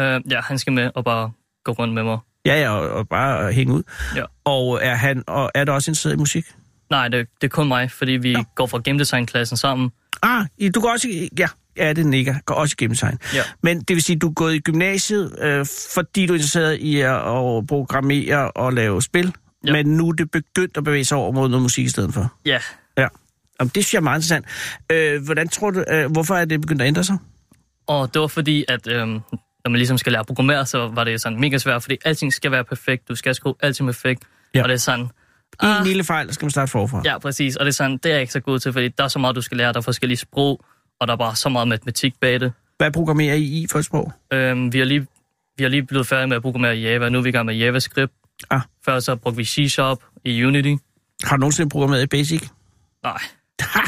E: Uh, ja, han skal med og bare gå rundt med mig.
B: Ja, ja, og, og bare at hænge ud.
E: Ja.
B: Og er han og er der også interesseret i musik?
E: Nej, det, det er kun mig, fordi vi ja. går fra game design-klassen sammen.
B: Ah, i- du går også i... Ja, ja det nikker. Går også igennem sig.
E: Ja.
B: Men det vil sige, du er gået i gymnasiet, øh, fordi du er interesseret i at, at programmere og lave spil.
E: Ja.
B: Men nu er det begyndt at bevæge sig over mod noget musik i stedet for.
E: Ja,
B: Ja. Jamen, det synes jeg er meget interessant. Øh, hvordan tror du, øh, hvorfor er det begyndt at ændre sig?
E: og det var fordi, at øhm, når man ligesom skal lære at programmere, så var det sådan mega svært, fordi alting skal være perfekt, du skal skrue alting perfekt,
B: Ja.
E: ja. og det er sådan...
B: En
E: Ah,
B: lille fejl, så skal man starte forfra.
E: ja, præcis, og det er sådan, det er jeg ikke så god til, fordi der er så meget, du skal lære, der er forskellige sprog, og der er bare så meget matematik bag det.
B: Hvad programmerer I i for et sprog?
E: Øhm, vi, er lige, vi er lige blevet færdige med at programmere i Java, nu er vi i gang med JavaScript.
B: Ah.
E: Før så brugte vi C-Sharp i Unity.
B: Har du nogensinde programmeret i Basic?
E: Nej,
B: Ha!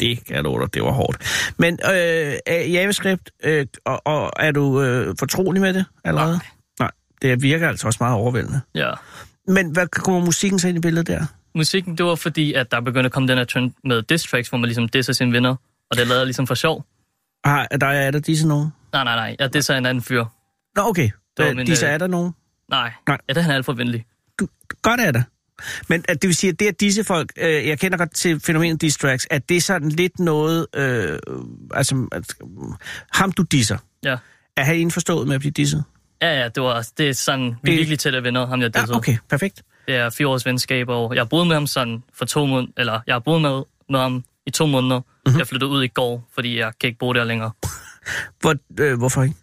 B: Det kan jeg love dig, det var hårdt. Men øh, er JavaScript, øh, og, og er du øh, fortrolig med det allerede? Nej. Nej, det virker altså også meget overvældende.
E: ja.
B: Men hvad kommer musikken så ind i billedet der?
E: musikken, det var fordi, at der begyndte at komme den her trend med diss tracks, hvor man ligesom disser sine venner, og det lavede jeg ligesom for sjov.
B: Har, er der er der disse nogen?
E: Nej, nej, nej, jeg disser en anden fyr.
B: Nå, okay.
E: Jo,
B: Der,
E: men,
B: disse
E: øh,
B: er der nogen?
E: Nej,
B: Nej.
E: nej. ja, det er han alt for venlig.
B: du, godt er det. Men at det vil sige, at det at disse folk, øh, jeg kender godt til fænomenet distracts, at det er sådan lidt noget, øh, altså at, ham du disser,
E: Ja.
B: er han indforstået med at blive disset?
E: Ja, ja, det var det er sådan, vi
B: Det-
E: er virkelig tætte venner, ham jeg
B: Ja,
E: dissede.
B: okay, Altså, perfekt.
E: Det er fire års venskab, og jeg har boet med ham sådan for to måneder, eller jeg har boet med, med ham i to måneder.
B: Mhm.
E: Mm-hmm. Jeg flyttede ud i går, fordi jeg kan ikke bo der længere.
B: Hvor, øh, hvorfor ikke?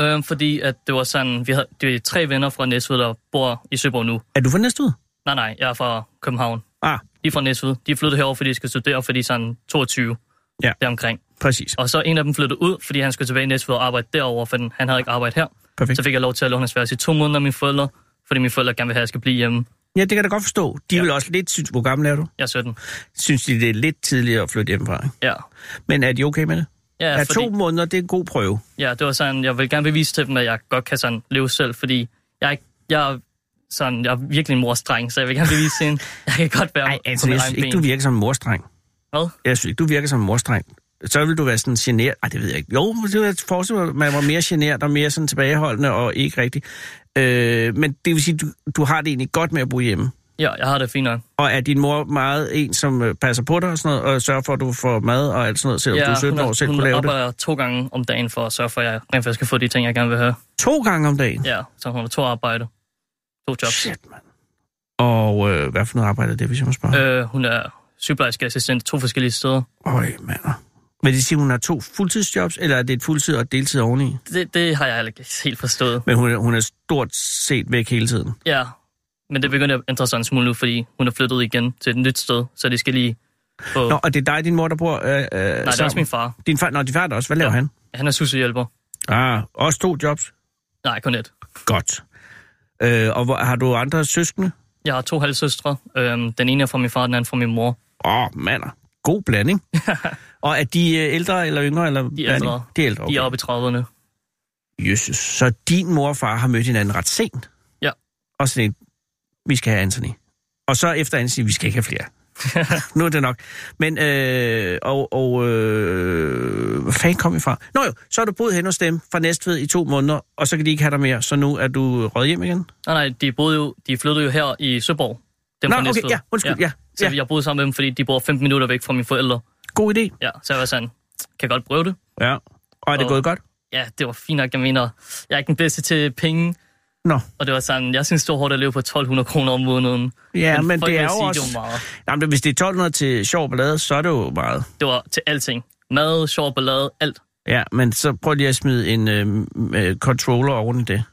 E: Øhm, fordi at det var sådan, vi havde det var tre venner fra Næsved, der bor i Søborg nu.
B: Er du for næste ud?
E: Nej, nej, jeg er fra København.
B: Ah,
E: De er fra Næsved. De er flyttet herover, fordi de skal studere, fordi de er sådan 22
B: Ja.
E: deromkring.
B: præcis.
E: Og så en af dem flyttede ud, fordi han skulle tilbage i Næstved og arbejde derovre, for den- han havde ikke arbejde her.
B: Perfekt.
E: Så fik jeg lov til at låne hans værelse i to måneder af mine forældre, fordi mine forældre gerne vil have, at jeg skal blive hjemme.
B: Ja, det kan jeg da godt forstå. De ja.
E: Ja.
B: vil også lidt synes, hvor gammel er du?
E: Jeg er 17.
B: Synes de, det er lidt tidligere at flytte hjemmefra? Ikke?
E: Ja.
B: Men er de okay med det?
E: Ja,
B: Ja, er
E: fordi,
B: to måneder, det er en god prøve.
E: ja, det var sådan, jeg vil gerne bevise til dem, at jeg godt kan sådan leve selv, fordi jeg, er ikke- jeg, er sådan, jeg er virkelig en mors dreng, så jeg vil gerne bevise til hende, jeg kan godt være
B: Nej, altså,
E: på min
B: jeg
E: egen
B: synes ikke,
E: ben.
B: du virker som en morstreng.
E: Hvad?
B: Jeg synes ikke, du virker som en morstreng. Så vil du være sådan generet. Ej, det ved jeg ikke. Jo, men det vil jeg forestille mig, at man var mere generet og mere sådan tilbageholdende og ikke rigtig. Øh, men det vil sige, du, du har det egentlig godt med at bo hjemme.
E: Ja, jeg har det fint nok.
B: Og er din mor meget en, som øh, passer på dig og sådan noget, og sørger for, at du får mad og alt sådan noget, selvom
E: ja,
B: ja, du er 17
E: hun,
B: år og selv
E: hun
B: kunne lave det?
E: arbejder to gange om dagen for at sørge for, at jeg rent faktisk kan få de ting, jeg gerne vil have.
B: To gange om dagen?
E: Ja, så hun har to arbejder. To jobs.
B: Shit, mand. Og øh, hvad for noget arbejde er det, hvis jeg må spørge?
E: Øh, hun er sygeplejerskeassistent to forskellige steder.
B: Øj, øh. mand. Vil det sige, at hun har to fuldtidsjobs, eller er det et fuldtid og et deltid oveni?
E: Det, det har jeg heller ikke helt forstået.
B: Men hun, er- hun er stort set væk hele tiden.
E: Ja, men det begynder at ændre sig en smule nu, fordi hun er flyttet igen til et nyt sted, så de skal lige få...
B: Nå, og det er dig, din mor, der bor øh, øh, Nej,
E: Nej, det er også min far.
B: Din far, nå, din far er der også. Hvad laver ja. han?
E: Han er susehjælper.
B: Ah, også to jobs.
E: Nej, kun et.
B: Godt. Øh, og hvor, har du andre søskende?
E: Jeg har to halvsøstre. Øhm, den ene er fra min far, den anden er fra min mor.
B: Åh, oh, mander. God blanding. og er de øh, ældre eller yngre? Eller
E: De er ældre.
B: De er ældre, okay.
E: De er oppe i 30'erne.
B: Jesus. Så din mor og far har mødt hinanden ret sent?
E: Ja.
B: Og sådan et, vi skal have Anthony. Og så efter Anthony, vi skal ikke have flere. nu er det nok. Men, øh, og, og øh, hvor fanden kom vi fra? Nå jo, så har du boet hen hos dem fra Næstved i to måneder, og så kan de ikke have dig mere, så nu er du røget hjem igen?
E: Nej, nej, de, boede jo, de flyttede jo her i Søborg. Dem
B: Nå,
E: fra Næstved.
B: okay, ja, undskyld, ja.
E: Så
B: ja.
E: jeg boede sammen med dem, fordi de bor 15 minutter væk fra mine forældre.
B: God idé.
E: Ja, så jeg var sådan, kan jeg godt prøve det?
B: Ja. Og er det
E: Og-
B: gået godt?
E: Ja, det var fint nok, jeg mener, jeg er ikke den bedste til penge,
B: Nå.
E: og det var sådan, jeg synes, det var hårdt at leve på 1200 kroner om måneden.
B: Ja, men,
E: folk
B: det
E: vil
B: er jo
E: sige,
B: også...
E: Det var, meget.
B: Jamen, hvis det er 1200 til sjov ballade, så er det jo meget.
E: det var til alting. Mad, sjov ballade, alt.
B: Ja, men så prøv lige at smide en øh, øh, controller oven i det.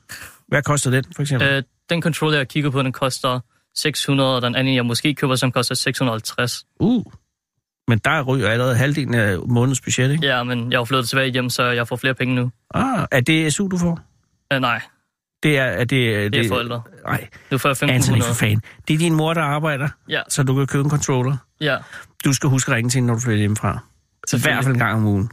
B: Hvad koster den, for eksempel? Øh.
E: Øh, den controller, jeg kigger på, den koster 600, og den anden, jeg måske køber, som koster 650.
B: Uh. Men der ryger allerede halvdelen af månedens budget, ikke?
E: Ja, men jeg er jo flyttet tilbage hjem, så jeg får flere penge nu.
B: Ah, er det SU, du får?
E: Øh, nej,
B: Det er, er det...
E: det er forældre.
B: Nej,
E: Nu får jeg
B: Anthony, for
E: 1500.
B: fanden. Det er din mor, der arbejder,
E: Ja,
B: så du kan købe en controller.
E: ja.
B: Du skal huske at ringe til hende, når du flytter hjemmefra. I hvert fald en gang om ugen.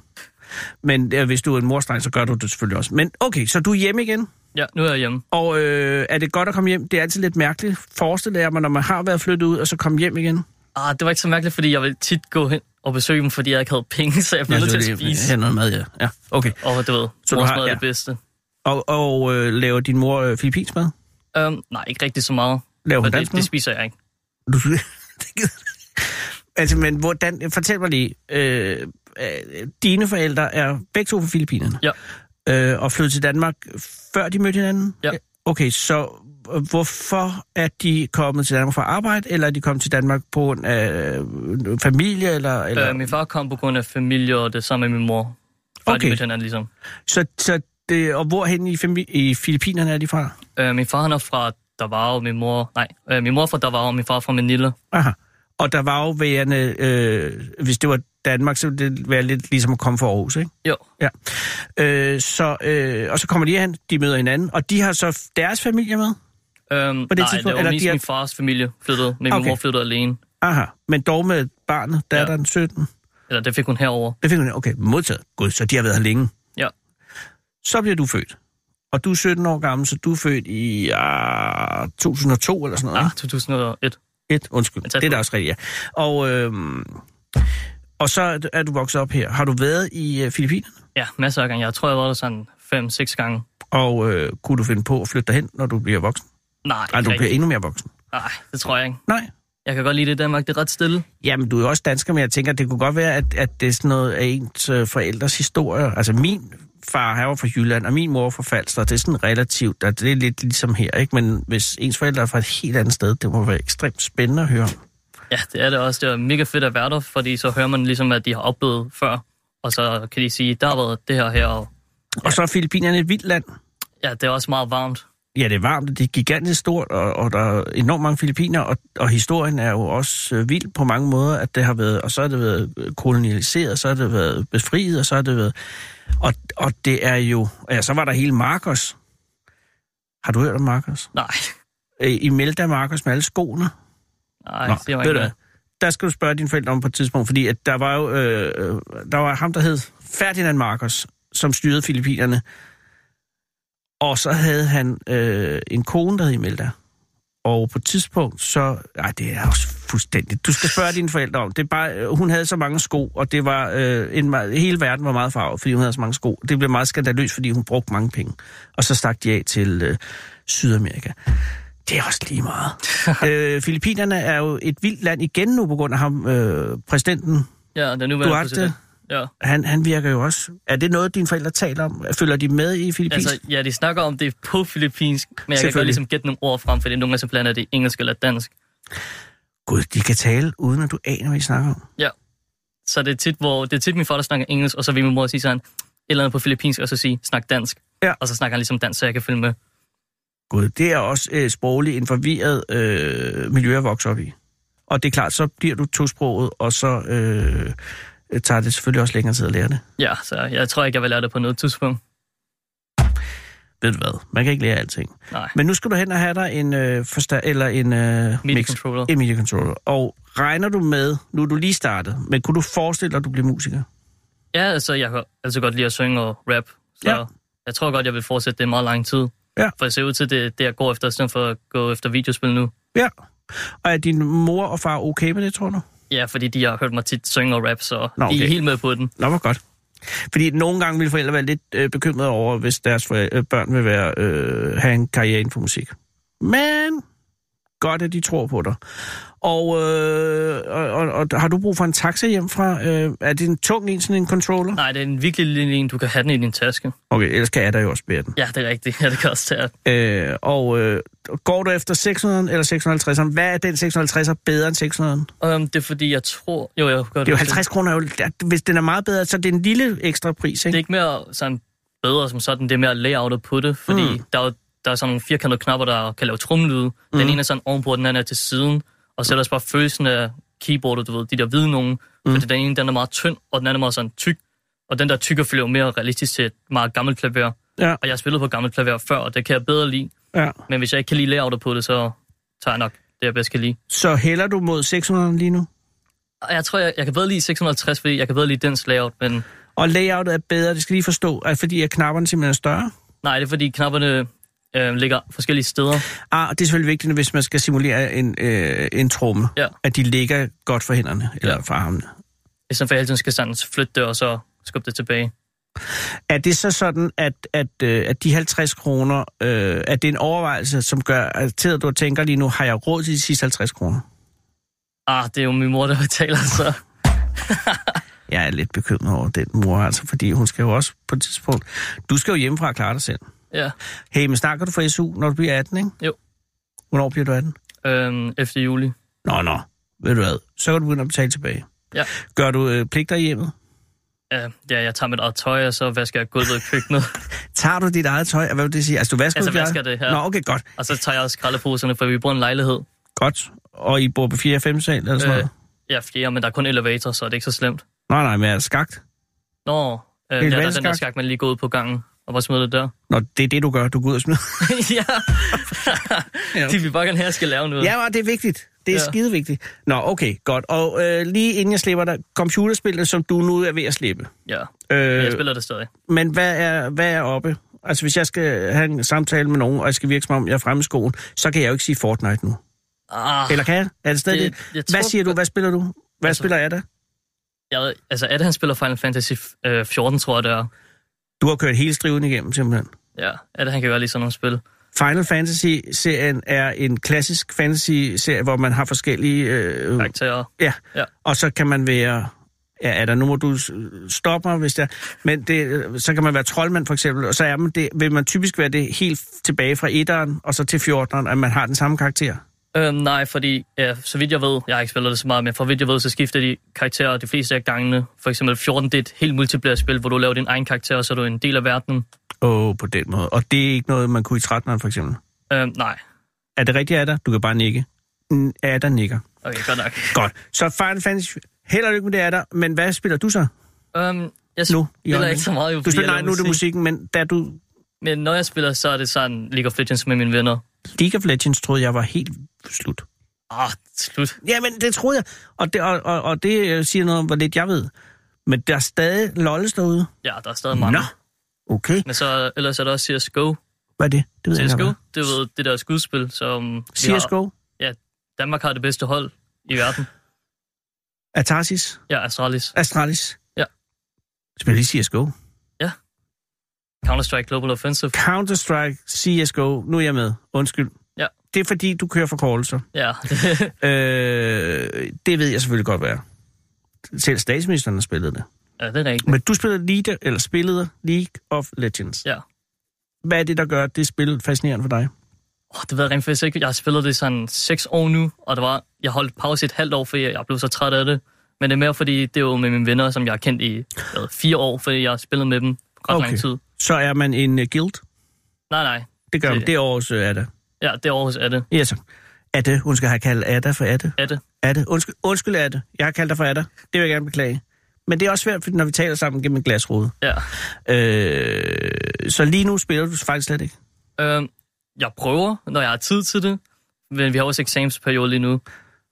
B: Men øh, hvis du er en morstreng, så gør du det selvfølgelig også. Men okay, så du er hjemme igen?
E: Ja, nu er jeg hjemme.
B: Og øh, er det godt at komme hjem? Det er altid lidt mærkeligt, forestiller jeg mig, når man har været flyttet ud, og så komme hjem igen.
E: Ah, det var ikke så mærkeligt, fordi jeg ville tit gå hen og besøge dem, fordi jeg ikke havde penge, så jeg blev nødt til at spise.
B: Ja, noget mad, ja. ja. Okay.
E: Og du ved,
B: Så du
E: mors
B: har-
E: mad er
B: ja.
E: det bedste.
B: Og, og øh, laver din mor øh, filippinsk mad?
E: Um, nej, ikke rigtig så meget.
B: Laver hun
E: For
B: dansk
E: det,
B: mad?
E: det spiser jeg ikke.
B: Du- det gider- altså, men hvordan... Fortæl mig lige. Øh, øh, dine forældre er begge to fra Filippinerne.
E: Ja.
B: Øh, og flyttede til Danmark, før de mødte hinanden?
E: Ja.
B: Okay, så øh, hvorfor er de kommet til Danmark for arbejde, eller er de kommet til Danmark på grund af øh, familie, eller... eller?
E: Øh, min far kom på grund af familie, og det samme med min mor. Før
B: Okay.
E: de mødte hinanden, ligesom.
B: Så, så det, og hvorhen i, fami- i Filippinerne er de fra?
E: Øh, min far han er fra Davao, min mor... Nej, øh, min mor er fra Davao, og min far er fra Manila.
B: Aha. Og der var jo værende, øh, hvis det var Danmark, så ville det være lidt ligesom at komme fra Aarhus, ikke?
E: Jo,
B: Ja. Øh, så, øh, og så kommer de hen, de møder hinanden, og de har så f- deres familie med?
E: øhm,
B: På det
E: nej,
B: tidspunkt,
E: det
B: eller
E: var
B: de
E: mest
B: er-
E: min fars familie flyttede, men okay.
B: Okay.
E: min mor flyttede alene.
B: Aha, men dog med barnet, datteren, ja. 17.
E: Eller det fik hun herover.
B: Det fik hun, okay, modtaget. Gud, så de har været her længe.
E: Ja.
B: Så bliver du født. Og du er 17 år gammel, så du er født i ah, 2002 eller sådan noget,
E: Ah,
B: ikke?
E: 2001.
B: Et, undskyld.
E: Men
B: Det
E: tæt
B: er
E: på.
B: da også rigtigt, ja. Og, øhm, og så er du- er du vokset op her. Har du været i øh, Filippinerne?
E: Ja, masser af gange. Jeg tror, jeg var der sådan 5-6 gange.
B: Og øh, kunne du finde på at flytte derhen, når du bliver voksen?
E: Nej,
B: Nej,
E: ikke
B: du bliver
E: rigtigt.
B: endnu mere voksen.
E: Nej, det tror jeg ikke.
B: Nej.
E: Jeg kan godt lide det i Danmark. Det er ret stille.
B: Jamen, du er jo også dansker, men jeg tænker, det kunne godt være, at, at det er sådan noget af ens øh, forældres historie. Altså, min far, han var fra Jylland, og min mor var fra Falster, og det er sådan relativt, og det er lidt ligesom her, ikke? Men hvis ens forældre er fra et helt andet sted, det må være ekstremt spændende at høre om.
E: Ja, det er det også. Det er mega fedt at være der, fordi så hører man ligesom, at de har oplevet før. Og så kan de sige, der har været det her her. Og
B: Og så er Filippinerne et vildt land.
E: ja, det er også meget varmt.
B: Ja, det er varmt, og det er gigantisk stort, og, og der er enormt mange filipiner, og, og historien er jo også øh, vild på mange måder, at det har været, og så har det været øh, kolonialiseret, så har det været befriet, og så har det været, og, og det er jo, ja, så var der hele Marcos. Har du hørt om Marcos?
E: Nej,
B: Øh, I Melda Marcos med alle skoene.
E: nej,
B: Nå,
E: det siger mig
B: ved du
E: ikke noget.
B: hvad? Der skal du spørge dine forældre om på et tidspunkt, fordi at der var jo øh, øh, der var ham, der hed Ferdinand Marcos, som styrede Filippinerne. Og så havde han øh, en kone, der hed Imelda. Og på et tidspunkt, så... Ej, det er også fuldstændigt. Du skal spørge dine forældre om. Det er bare, øh, hun havde så mange sko, og det var... Øh, en, meget- hele verden var meget farvet, fordi hun havde så mange sko. Det blev meget skandaløst, fordi hun brugte mange penge. Og så stak de af til øh, Sydamerika. Det er også lige meget. øh, Filippinerne er jo et vildt land igen nu på grund af ham, øh, præsidenten.
E: Ja, den nuværende
B: Duarte?
E: præsident. Ja.
B: Han, han virker jo også. Er det noget, dine forældre taler om? Følger de med i Filippinsk?
E: Altså, ja, de snakker om det på filippinsk, men jeg kan godt
B: Selvfølgelig.
E: ligesom gætte nogle ord frem, fordi nogle gange så blander det engelsk eller dansk.
B: Gud, de kan tale, uden at du aner, hvad de snakker om.
E: Så det er tit, hvor, det er tit min far, der snakker engelsk, og så vil min mor sige sådan, et eller andet på filippinsk, og så sige, snak dansk.
B: Ja.
E: Og så snakker han ligesom dansk, så jeg kan følge med.
B: Gud, det er også øh, sprogligt en forvirret øh, miljø at vokse op i. Og det er klart, så bliver du tosproget, og så øh, tager det selvfølgelig også længere tid at lære det.
E: Ja, så jeg tror ikke, jeg vil lære det på noget tidspunkt.
B: Ved du hvad? Man kan ikke lære alting.
E: Nej.
B: Men nu skal du hen og have dig en, øh, forsta- eller en øh,
E: Media
B: mix.
E: controller.
B: En media controller. Og regner du med, nu er du lige startet, men kunne du forestille dig, at du bliver musiker?
E: Ja, altså, jeg kan altså godt lide at synge og rap. Så
B: Ja.
E: ja. jeg tror godt, jeg vil fortsætte det i meget lang tid.
B: Ja.
E: For jeg ser ud til det, det jeg går efter, i stedet for at gå efter videospil nu.
B: Ja. Og er din mor og far okay med det, tror du?
E: Ja, fordi de har hørt mig tit synge og rap, så
B: Nå,
E: Nå, okay. de
B: okay.
E: er helt med på den.
B: Nå, hvor godt. Fordi nogle gange vil forældre være lidt øh, bekymrede over, hvis deres forældre, øh, børn vil være, øh, have en karriere inden for musik. Men godt, at de tror på dig. Og, øh, og, og, og har du brug for en taxa hjem fra? Øh, er det en tung en, sådan en controller?
E: Nej, det er en virkelig lille en, du kan have den i din taske.
B: Okay, ellers kan jeg da jo også bære den.
E: Ja, det er rigtigt. Ja, det kan også tage.
B: Øh, og øh, går du efter 600 eller 650'eren? Hvad er den 650'er bedre end 600'eren?
E: Um, det er fordi, jeg tror... Jo, jeg kan godt
B: Det er jo
E: huske
B: 50 kroner. er jo- der- Hvis den er meget bedre, så er det en lille ekstra pris,
E: Det er
B: ikke?
E: ikke mere sådan bedre som sådan, det er mere layoutet på det, fordi mm. der, er, jo- der er sådan nogle firkantede knapper, der kan lave trumlyde.
B: Mm.
E: Den ene er sådan ovenpå, og den anden er til siden. Og så er der også bare følelsen af keyboardet, du ved, de der hvide nogen. Mm. Fordi den ene den er meget tynd, og den anden er meget sådan tyk. Og den der tykke følger jo mere realistisk til et meget gammelt klaver.
B: Ja,
E: Og jeg har spillet på gammelt klaver før, og det kan jeg bedre lide.
B: ja.
E: Men hvis jeg ikke kan lide layoutet på det, så tager jeg nok det, jeg bedst kan lide.
B: Så hælder du mod 600'eren lige nu?
E: Og jeg tror, jeg, jeg kan bedre lide 650, fordi jeg kan bedre lide dens layout, men
B: Og layoutet er bedre, det skal lige forstå, at fordi at knapperne simpelthen er større.
E: nej, det er fordi knapperne øh, ligger forskellige steder.
B: Ah, og det er selvfølgelig vigtigt, hvis man skal simulere en, øh, en tromme,
E: Ja.
B: at de ligger godt for hænderne, eller for armene.
E: i stedet for at jeg hele tiden skal sådan flytte det, og så skubbe det tilbage.
B: Er det så sådan, at, at, øh, at de 50 kroner, øh, at det er en overvejelse, som gør, at til at du tænker lige nu, har jeg råd til de sidste 50 kroner?
E: Ah, det er jo min mor, der betaler, så...
B: Jeg er lidt bekymret over den mor, altså, fordi hun skal jo også på et tidspunkt... Du skal jo hjemmefra og klare dig selv.
E: Ja,
B: Hey, men snakker du for SU, når du bliver 18, ikke?
E: Jo.
B: Hvornår bliver du 18?
E: øhm, efter juli.
B: Nå, nå. Ved du hvad? Så kan du begynde at betale tilbage.
E: Ja.
B: Gør du øh, pligter i hjemmet?
E: Ja, ja, jeg tager mit eget tøj, og så vasker jeg gulvet i køkkenet.
B: Tager du dit eget tøj? Hvad vil det sige? Altså, du vasker
E: Altså,
B: dit eget-
E: vasker det her.
B: Nå, okay, godt.
E: og så tager jeg også skraldeposerne, for vi bor i en lejlighed.
B: Godt. Og I bor på 4. og 5. sal eller sådan øh.
E: Øh,
B: noget?
E: ja, fjerde, men der er kun elevator, så det er ikke så slemt.
B: Nej, nej, men er det skagt?
E: Nå, øh, ja, der er den der
B: Elevatorskak?
E: skak, man lige går ud på gangen og bare smider det der.
B: Nå, det er det, du gør. Du går ud og smider.
E: ja, de vil bare gerne have, at jeg skal lave noget.
B: Ja, men det er vigtigt. Det er ja.
E: Øh. Ja.
B: skide vigtigt. Nå, okay, godt. Og øh, lige inden jeg slipper dig, computerspillet, som du nu er ved at slippe.
E: ja. Men
B: Øh,
E: Jeg spiller det stadig.
B: men hvad er, hvad er oppe? Altså, hvis jeg skal have en samtale med nogen, og jeg skal virke som om, jeg er fremme i skoen, så kan jeg jo ikke sige Fortnite nu.
E: Ah,
B: Eller kan jeg? Er det stadig
E: Det-
B: det?
E: jeg
B: Hvad
E: tror-
B: siger du? Hvad spiller du? Hvad
E: Altså-
B: spiller jeg da?
E: jeg, altså, er det, han spiller Final Fantasy øh, 14, tror jeg, det er.
B: Du har kørt hele striven igennem, simpelthen.
E: Ja, er det, han kan godt lide sådan nogle spil.
B: Final Fantasy-serien er en klassisk fantasy-serie, hvor man har forskellige... Øh,
E: Karakterer.
B: ja. ja.
E: Ja.
B: Og så kan man være... Ja, er der nu, må du s- stoppe mig, hvis der... Men det, øh, så kan man være troldmand, for eksempel, og så er man det, vil man typisk være det helt tilbage fra 1'eren og så til 14'eren, at man har den samme karakter.
E: Øhm, nej, fordi ja, så vidt jeg ved, jeg har ikke spillet det så meget, men for vidt jeg ved, så skifter de karakterer de fleste af gangene. For eksempel 14, det er et helt multiplayer spil, hvor du laver din egen karakter, og så er du en del af verdenen.
B: Åh, oh, på den måde. Og det er ikke noget, man kunne i 13'eren, for eksempel.
E: Øhm, nej,
B: Er det rigtigt, Ada? Du kan bare nikke. Mm, Ada nikker.
E: okay, godt nok.
B: Godt. Så Final Fantasy... Held og lykke med det, Ada. Men hvad spiller du så?
E: Øhm, jeg
B: Nu,
E: spiller
B: i øjeblikket.
E: ikke så meget, jo,
B: Du
E: fordi
B: spiller, nej,
E: jeg laver
B: nu er det musikken, men da du...
E: Men når jeg spiller, så er det sådan League of Legends med mine venner.
B: League of Legends troede jeg var helt slut.
E: Ah, slut.
B: Jamen, det troede jeg. Og det, og, og, og det øh, siger noget om, hvor lidt jeg ved. Men der er stadig lolles derude.
E: Ja, der er stadig mange.
B: Okay.
E: Men så, ellers er der også CSGO.
B: Hvad er det? Det ved jeg ikke.
E: CSGO,
B: hvad
E: det er jo det der skudspil, som... vi
B: er.
E: har-
B: CSGO?
E: Danmark har det bedste hold i verden.
B: Atarsis?
E: Ja, Astralis.
B: Astralis?
E: Ja.
B: Spiller lige CSGO?
E: Counter-Strike Global Offensive.
B: Counter-Strike, CSGO, nu er jeg med. Undskyld.
E: Ja.
B: det er fordi, du kører forkortelser.
E: Ja,
B: Øh, det ved jeg selvfølgelig godt, hvad er. Selv statsministeren har spillet det.
E: ja det er rigtigt.
B: Men du spiller League, eller spillede League of Legends.
E: Ja.
B: Hvad er det, der gør det spil fascinerende for dig?
E: Oh, det ved jeg rent faktisk ikke. Jeg har spillet det i sådan seks år nu, og det var, jeg holdt pause i et halvt år, fordi jeg blev så træt af det. Men det er mere, fordi det er jo med mine venner, som jeg har kendt i hvad, fire år, fordi jeg har spillet med dem ret okay.
B: Okay.
E: lang tid.
B: Så er man en uh, guild.
E: Nej, nej.
B: Det gør man.
E: Det-
B: Det er også uh, Ada.
E: Ja, det er Aarhus er det.
B: Ja, så. Adde. Hun skal have kaldt Ada for Adde.
E: Er det?
B: Adde. Undskyld, undskyld Adde. Jeg har kaldt dig for Adde. Det vil jeg gerne beklage. Men det er også svært, fordi når vi taler sammen gennem en glasrude.
E: Ja.
B: Øh, så lige nu spiller du faktisk slet ikke.
E: Øh, jeg prøver, når jeg har tid til det, men vi har også eksamensperiode lige nu.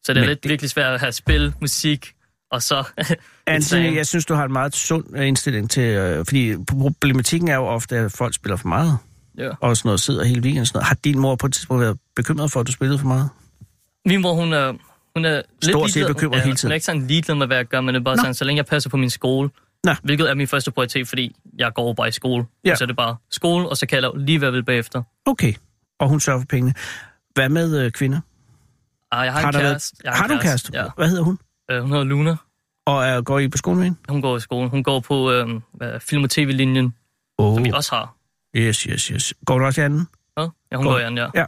E: Så det er
B: Men
E: lidt det... virkelig svært at have spil, musik, og så...
B: Anthony,
E: eksamen.
B: Altså, jeg synes, du har en meget sund øh, indstilling til... Øh, fordi problematikken er jo ofte, at folk spiller for meget.
E: ja.
B: og sådan noget, sidder hele weekenden og sådan noget. Har din mor på et tidspunkt været bekymret for, at du spillede for meget?
E: Min mor, hun er, hun er lidt
B: Stort set
E: ligeglad.
B: bekymret
E: Ja,
B: hele tiden.
E: Hun er ikke sådan ligeglad med, hvad jeg gør, men det er bare sådan, så længe jeg passer på min skole,
B: Nå.
E: hvilket er min første prioritet, fordi jeg går bare i skole.
B: Ja.
E: Ja. Så er det bare skole, og så kan jeg lave lige hvad jeg vil bagefter.
B: Okay. Og hun sørger for pengene. Hvad med øh, kvinder?
E: Ah, jeg har, en
B: der
E: kæreste. Jeg
B: Været... Har du en kæreste?
E: Ja.
B: Hvad hedder hun?
E: Øh, hun hedder Luna.
B: Og er, går I på skolen med hende?
E: Hun går i skole. Hun går på øh, hvad, film- og tv-linjen, oh.
B: Oh.
E: som vi også har.
B: Yes, yes, yes. Går du også i anden?
E: Ja, ja hun
B: Godt.
E: går i anden, ja.
B: Ja.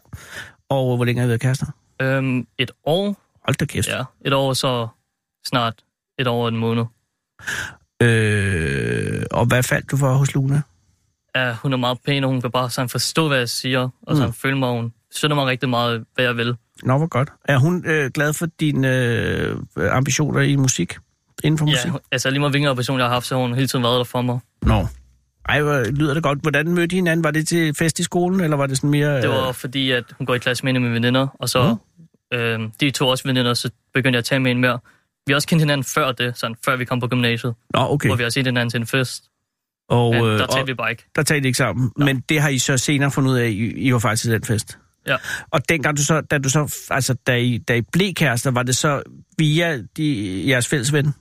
B: Og øh, hvor længe har I været kærester?
E: Øhm, et år,
B: Hold da kæft. Ja.
E: ja. Et år, så snart et år og en måned.
B: Øh, og hvad faldt du for hos Luna?
E: Ja, hun er meget pæn, og hun kan bare sådan forstå, hvad jeg siger, og så
B: Mm.
E: føler mig, hun støtter mig rigtig meget, hvad jeg vil.
B: Nå, hvor godt. Er hun øh, glad for dine øh, ambitioner i musik? Inden for musik?
E: Ja, hun- altså lige meget hvilken operation, jeg har haft, så har hun hele tiden været der for mig.
B: Nå. Ej, hvor lyder det godt. Hvordan mødte I hinanden? Var det til fest i skolen, eller var det sådan mere...
E: Det var
B: øh,
E: fordi, at hun går i klasse med en af mine veninder, og så
B: Mhm.
E: øh, de to også veninder, så begyndte jeg at tage med en mere. Vi har også kendt hinanden før det, sådan, før vi kom på gymnasiet, okay.
B: Nå, okay.
E: hvor vi har set hinanden til en fest.
B: Og,
E: Men
B: øh,
E: der talte
B: og,
E: vi bare ikke.
B: der talte I ikke sammen. Ja. Men det har I så senere fundet ud af, I, I var faktisk til den fest.
E: Ja.
B: Og dengang du så, da du så, altså da I, da I blev kærester, var det så via de, jeres fælles ven?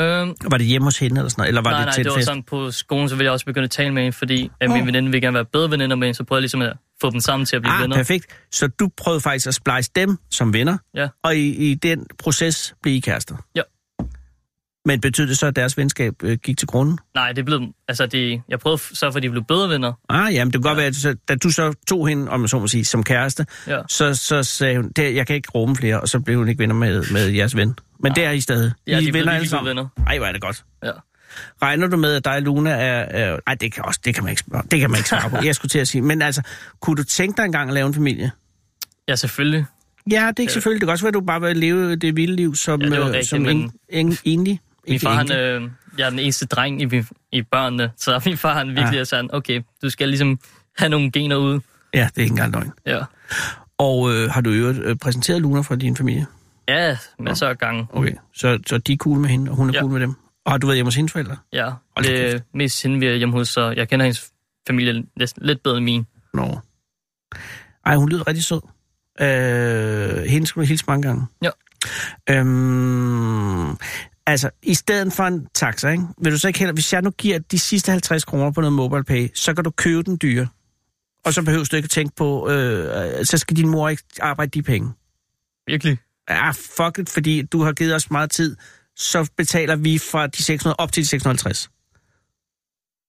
E: Øhm,
B: Var det hjemme hos hende eller sådan noget? Eller var
E: nej,
B: det
E: nej,
B: til
E: det
B: en
E: var
B: fest?
E: sådan på skolen, så ville jeg også begynde at tale med hende, fordi at min
B: Åh.
E: veninde ville gerne være bedre veninder med hende, så prøvede jeg ligesom at få dem sammen til at blive
B: ah,
E: venner.
B: perfekt. Så du prøvede faktisk at splice dem som venner,
E: Ja.
B: og i, i den proces blev I kærester?
E: Ja.
B: Men betød det så, at deres venskab øh, gik til grunden?
E: Nej, det blev, altså de, jeg prøvede f- så for, at de blev bedre venner.
B: Ah, jamen, det kan godt ja. være, at du så, da du så tog hende, om jeg så må sige, som kæreste,
E: Ja.
B: så, så sagde hun, det, jeg kan ikke rumme flere, og så blev hun ikke venner med, med jeres ven. Men det er I stadig.
E: Ja,
B: I
E: de er blevet
B: alle
E: lige
B: sammen.
E: venner.
B: Ej, hvor er det godt.
E: Ja.
B: Regner du med, at dig og Luna er... er ej, det kan, også, det kan man ikke, spørge- det kan man ikke svare på. Jeg skulle til at sige. Men altså, kunne du tænke dig engang at lave en familie?
E: ja, selvfølgelig.
B: Ja, det er ikke selvfølgelig. Det kan også være, at du bare vil leve det vilde liv som,
E: Øh. Ja, det var
B: øh,
E: rigtigt,
B: som en,
E: men-
B: en, enlig.
E: Min
B: Ikke
E: far, han,
B: enkel.
E: øh, jeg er den eneste dreng i, min- i børnene, så min far, han virkelig
B: Ja.
E: er sådan, okay, du skal ligesom have nogle gener ud.
B: Ja, det er ikke engang løgn.
E: Ja,
B: Og øh, har du i øvrigt øh, præsenteret Luna for din familie?
E: ja masser af gange.
B: Okay. Så, så de er cool med hende, og hun er ja.
E: Ja.
B: cool med dem. Og har du været hjemme hos hendes forældre?
E: Ja,
B: Hold da
E: det er mest hende, vi er hjemme hos, så jeg kender hendes familie næsten lidt bedre end min.
B: Nå. Ej, hun lyder rigtig sød. Øh, hende skulle du hilse mange gange.
E: Ja.
B: Øhm, altså, i stedet for en taxa, ikke? vil du så ikke heller, hvis jeg nu giver de sidste 50 kroner på noget mobile pay, så kan du købe den dyre. Og så behøver du ikke at tænke på, øh, så skal din mor ikke arbejde de penge.
E: Virkelig?
B: Ah, fuck it, fordi du har givet os meget tid, så betaler vi fra de 600 op til de 650.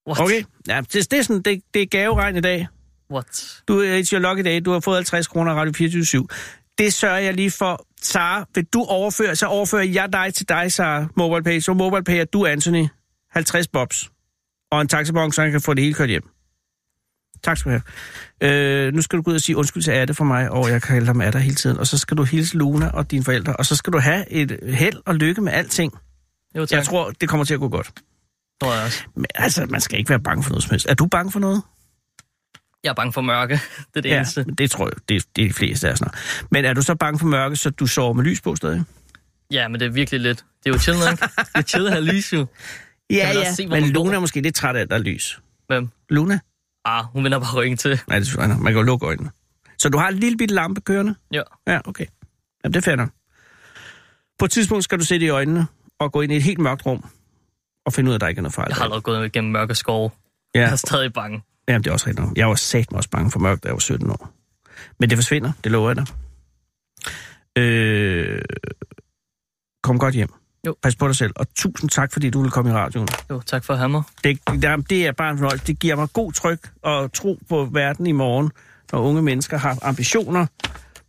E: What?
B: Okay? Ja, det, det er sådan, det, det er gaveregn i dag.
E: What?
B: Du er it's your lucky day. Du har fået 50 kroner af Radio 24 Det sørger jeg lige for. Sara, vil du overføre, så overfører jeg dig til dig, Sara, MobilePay. Så MobilePay er du, Anthony, 50 bobs. Og en taxabon, så han kan få det hele kørt hjem. Tak skal du have. Øh, nu skal du gå ud og sige undskyld til Atte for mig, og jeg kalder ham Atte hele tiden. Og så skal du hilse Luna og dine forældre, og så skal du have et held og lykke med alting.
E: Jo, tak.
B: Jeg tror, det kommer til at gå godt.
E: tror jeg også.
B: Men altså, man skal ikke være bange for noget som helst. Er du bange for noget?
E: Jeg er bange for mørke. Det er det eneste.
B: men det tror jeg, det, det er de fleste af os nok. Men er du så bange for mørke, så du sover med lys på stadig?
E: Ja, men det er virkelig lidt. Det er jo chill nok. det er chill at have lys, jo.
B: Ja,
E: man også se, hvor
B: men
E: man
B: Luna
E: bor?
B: er måske lidt træt af, at der er lys.
E: Hvem?
B: Luna?
E: Ah, hun vender bare ryggen til.
B: Nej, det er selvfølgelig nok. Man kan jo lukke øjnene. Så du har en lille bitte lampe kørende?
E: Ja.
B: Ja, okay. Jamen, det finder. På et tidspunkt skal du sætte i øjnene og gå ind i et helt mørkt rum og finde ud af, at der ikke er noget farligt.
E: Jeg har allerede gået igennem mørke skove. Jeg
B: ja,
E: er stadig bange.
B: jamen, det er også rigtigt. nok. Jeg var satme også bange for mørkt, da jeg var 17 år. Men det forsvinder, det lover jeg dig. Øh, kom godt hjem.
E: Jo.
B: Pas på dig selv, og tusind tak, fordi du ville komme i radioen.
E: Jo, tak for hammer.
B: Det, der, det er bare en fornøjelse. Det giver mig god tryk og tro på verden i morgen, når unge mennesker har ambitioner.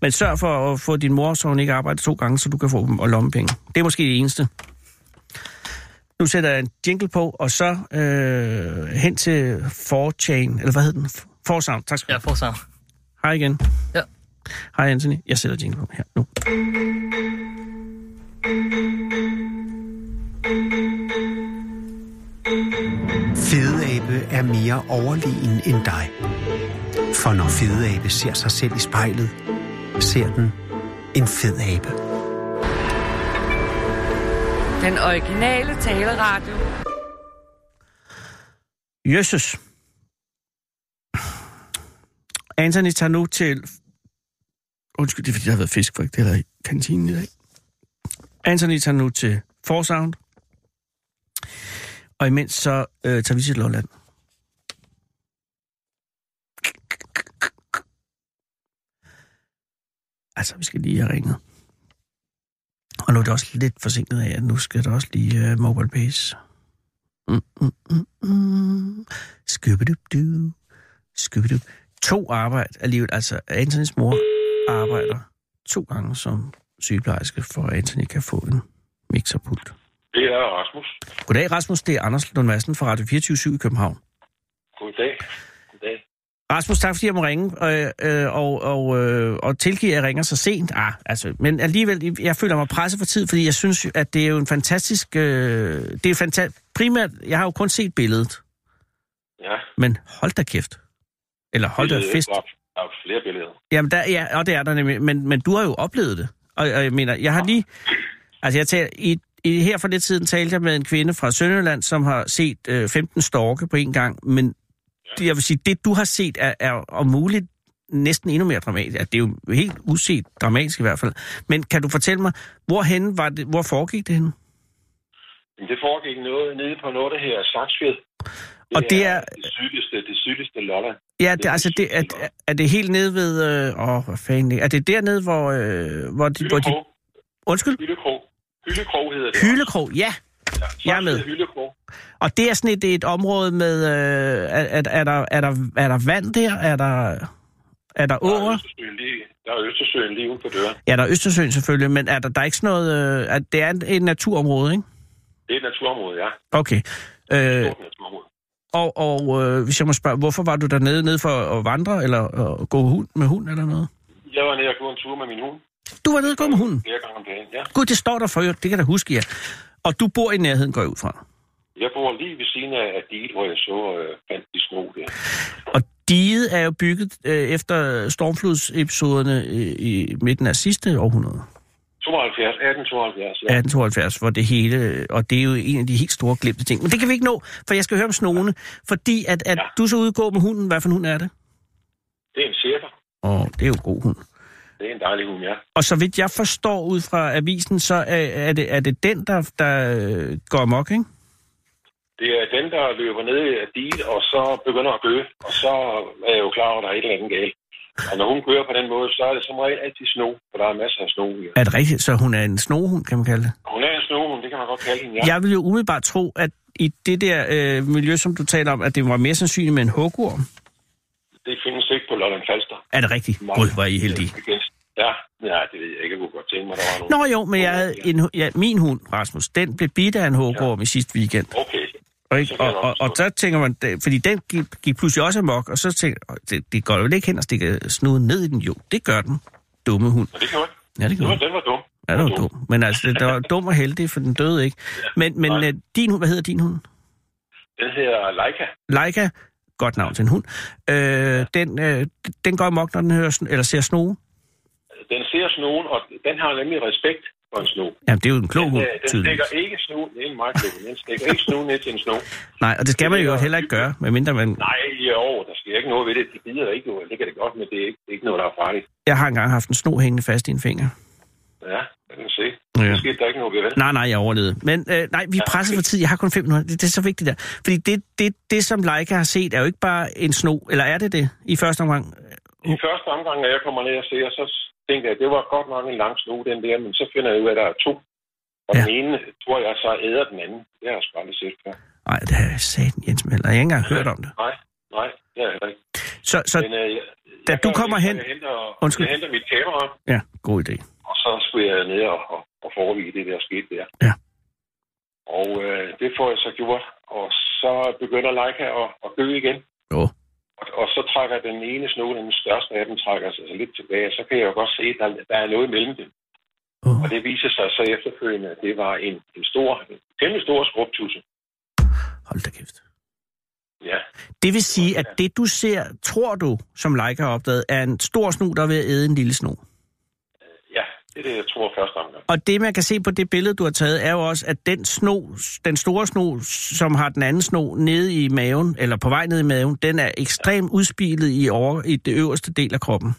B: Men sørg for at få din mor, så hun ikke arbejder to gange, så du kan få dem og lommepenge. Det er måske det eneste. Nu sætter jeg en jingle på, og så øh, hen til 4chan, eller hvad hed den? Forsound, tak skal du
E: Ja,
B: have.
E: for sammen.
B: Hej igen.
E: Ja.
B: Hej Anthony, jeg sætter jingle på her nu.
A: Fedeabe er mere overlegen end dig. For når fedeabe ser sig selv i spejlet, ser den en fed abe.
F: Den originale taleradio.
B: Jesus. Anthony tager nu til... Undskyld, det er fordi, der har været fisk, for ikke det er der i kantinen i dag. Anthony tager nu til Forsound. Og imens så øh, tager vi til Lolland. Altså, vi skal lige have ringet. Og nu er det også lidt forsinket af, at nu skal der også lige øh, mobile base. Mm, mm, mm, mm. Skubidubidu. Skubidub. To arbejde alligevel. Altså, Antonys mor arbejder to gange som sygeplejerske, for at Antony kan få en mixerpult.
G: Det er Rasmus.
B: Goddag, Rasmus. Det er Anders Lund Madsen fra Radio 24 i København.
G: Goddag. Goddag.
B: Rasmus, tak fordi jeg må ringe, øh, øh, og, og, øh, og tilgive, at jeg ringer så sent. Ah, altså, men alligevel, jeg føler mig presset for tid, fordi jeg synes, at det er jo en fantastisk... Øh, det er fantastisk... Primært, jeg har jo kun set billedet,
G: Ja.
B: men hold da kæft. Eller hold da
G: billedet
B: fest.
G: var- Der er flere billeder.
B: Jamen, der, ja, og det er der nemlig. Men, men du har jo oplevet det. Og, og jeg mener, jeg har lige... Altså, jeg taler, i, i, her for lidt siden talte jeg med en kvinde fra Sønderjylland, som har set øh, 15 storke på en gang. Men det, jeg vil sige, det du har set er, er om muligt næsten endnu mere dramatisk. Altså, det er jo helt uset dramatisk i hvert fald. Men kan du fortælle mig, hvorhen var det, hvor foregik det henne?
G: Men det foregik noget nede på noget, der hedder Saksfjed.
B: Og det er-
G: Det sydligste, det sydligste Lolland.
B: Ja, det, altså, det, er, er det helt nede ved... Øh, åh, hvad fanden... Er det dernede, hvor... Øh, hvor, de, hvor de,
G: Hyldekrog.
B: undskyld?
G: Hyldekrog. Hyldekrog hedder det.
B: Hyldekrog, ja.
G: Saksfjed
B: jeg er med.
G: Hyldekrog.
B: Og det er sådan et, et område med... Øh, er, er, er, der, er, der, er der vand der? Er der, er der
G: Der er
B: åer?
G: Østersøen lige, der er Østersøen lige ude på døren.
B: Ja, der er Østersøen selvfølgelig, men er der, der er ikke sådan noget... Øh, er, det er et naturområde, ikke?
G: Det er et naturområde, ja.
B: Okay.
G: Et
B: Øh,
G: stort naturområde.
B: og og øh, hvis jeg må spørge, hvorfor var du dernede nede for at vandre, eller at gå hund, med hund eller noget?
G: Jeg var nede og gå en tur med min hund
B: Du var nede og gå med hunden.
G: flere gange om dagen, ja.
B: Gud, det står der for øvrigt, det kan jeg da huske, ja. Og du bor i nærheden, går jeg ud fra.
G: Jeg bor lige ved siden af af diget, hvor jeg så øh, fandt de små der.
B: Og diget er jo bygget øh, efter stormflodsepisoderne i, i midten af sidste århundrede.
G: 72, 1872, ja.
B: 1872, hvor det hele, og det er jo en af de helt store glemte ting. Men det kan vi ikke nå, for jeg skal høre om snogene, fordi at, at ja.
G: Ja.
B: du så udgå med hunden, hvad for en hund er det?
G: Det er en cirka.
B: Åh, det er jo en god hund.
G: Det er en dejlig hund, ja.
B: Og så vidt jeg forstår ud fra avisen, så er, er, det, er det den, der, der øh, går amok, ikke?
G: Det er den, der løber ned af diget, og så begynder at gø, og så er jeg jo klar over, at der er et eller andet galt. Og når hun kører på den måde, så er det som regel altid sno, for der er masser af sno. Ja.
B: Er det rigtigt? Så hun er en snohund, kan man kalde det?
G: Hun er en snohund, det kan man godt kalde hende, ja.
B: Ja. Jeg vil jo umiddelbart tro, at i det der øh, miljø, som du taler om, at det var mere sandsynligt med en hugorm.
G: Det findes ikke på Lolland Falster.
B: Er det rigtigt?
G: Nej.
B: Gud, hvor er I heldige.
G: Ja, nej, det ved jeg ikke. Jeg kunne godt tænke mig, der var nogen.
B: Nå jo, men jeg havde en, hu- ja, min hund, Rasmus, den blev bidt af en hugorm ja. i sidste weekend.
G: Okay.
B: Og, ikke?
G: Så kan
B: Og,
G: jeg
B: og,
G: godt
B: og
G: forstå
B: der tænker man, det- fordi den gik, gik pludselig også amok, og så tænker jeg, det, det går jo ikke hen og stikke snuden ned i den. Jo, det gør den. Dumme hund.
G: Men det kan man.
B: Ja, det
G: Den
B: gør
G: var,
B: den.
G: den var dum.
B: Ja, det var dum. Men altså, det, der var dum og heldig, for den døde ikke. Men, men
G: nej.
B: øh, din hund, hvad hedder din hund?
G: Den hedder Leica.
B: Leica, godt navn til en hund. Øh, den, øh, den går amok, når den hører, sn- eller ser snoge.
G: Den ser snoen, og den har nemlig respekt for en sno.
B: Jamen, det er jo en klog
G: Den,
B: hund,
G: øh, den
B: tydeligvis.
G: stikker ikke snoen. Det er en meget klog. Den stikker ikke snoen ned til en sno.
B: Nej, og det skal man jo heller ikke gøre, medmindre man...
G: Nej, jo, der sker ikke noget ved det. De bider ikke, jo. Det kan det godt, men det er ikke, det er ikke noget, der er farligt.
B: Jeg har engang haft en sno hængende fast i en finger.
G: Ja, det kan man se.
B: Ja.
G: Ja. Det skete der ikke noget ved, vel?
B: Nej, nej, jeg overlevede. Men øh, nej, vi er presset for tid. Jeg har kun fem minutter. Det, det er så vigtigt der. Fordi det, det, det, som Leica har set, er jo ikke bare en sno. Eller er det det i første omgang?
G: I første omgang, når jeg kommer ned og ser, så tænkte jeg, at det var godt nok en lang sno, den der, men så finder jeg ud af, at der er to. Og
B: Ja.
G: ja. den ene, tror jeg, så æder den anden. Det har jeg sgu aldrig set før.
B: Nej, det har jeg satan Jens Møller. Jeg har ikke engang hørt om det.
G: Nej, nej, det er jeg heller ikke.
B: Så, så
G: Men, øh, jeg,
B: Da
G: jeg
B: du
G: gør det,
B: kommer
G: at
B: hen-
G: Jeg henter,
B: Undskyld.
G: jeg henter mit kamera,
B: ja, god idé.
G: og så skulle jeg ned og, og, og forevige det, der skete der.
B: Ja.
G: Og øh, det får jeg så gjort, og så begynder Leica at, at gø igen.
B: Jo.
G: Og, og så trækker den ene sno, den største af dem, trækker sig så lidt tilbage. Så kan jeg jo godt se, at der, der er noget mellem dem.
B: Åh.
G: Og det viser sig så efterfølgende, at det var en, en stor, en temmelig stor skrubtusse.
B: Hold da kæft.
G: Ja,
B: Det vil sige, at det du ser, tror du, som Leica har opdaget, er en stor snu, der er ved at æde en lille snu.
G: ja, det er det, jeg tror første omgang.
B: Og det, man kan se på det billede, du har taget, er jo også, at den sno, den store sno, som har den anden sno nede i maven, eller på vej ned i maven, den er ekstremt udspilet i, over, i det øverste del af kroppen.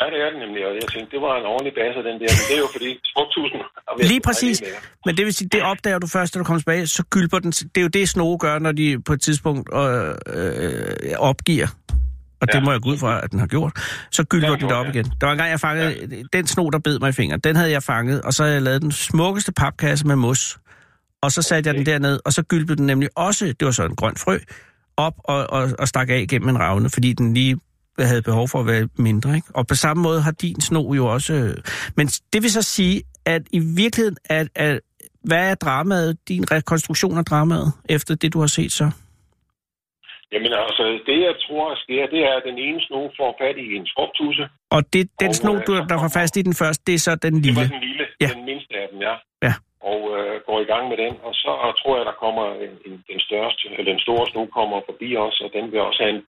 G: Ja, det er den nemlig, og jeg tænkte, det var en ordentlig base, den der, men det er jo fordi skrubtusen... har været-
B: Lige præcis. Men det vil sige, det opdager du først, da du kommer tilbage, så gylper den. Det er jo det, snoge gør, når de på et tidspunkt øh, øh, opgiver. Og det
G: Ja.
B: må jeg gå ud fra, at den har gjort. Så gylper
G: Ja,
B: den det op
G: ja.
B: igen. Der var en gang, jeg fangede den sno, der bed mig i fingeren. Den havde jeg fanget, og så havde jeg lavet den smukkeste papkasse med mos. Og så satte jeg den derned, og så gylpede den nemlig også, det var så en grøn frø, op og, og, og stak af gennem en ravne, fordi den lige havde behov for at være mindre. Ikke? Og på samme måde har din sno jo også... øh, Men det vil så sige, at i virkeligheden, at, at, hvad er dramaet, din rekonstruktion af dramaet, efter det, du har set så?
G: Jamen altså, det jeg tror, der sker, det er, at den ene sno får fat i en skrubtusse.
B: Og det, den
G: Og,
B: sno,
G: øh,
B: du, der var fast i den første, det er så den
G: Det var
B: lille.
G: den lille,
B: Ja.
G: ja. den mindste af dem, ja.
B: Ja.
G: Og øh, går i gang med den, og så tror jeg, der kommer en, en, den største, eller den store sno kommer forbi os, og den vil også have en,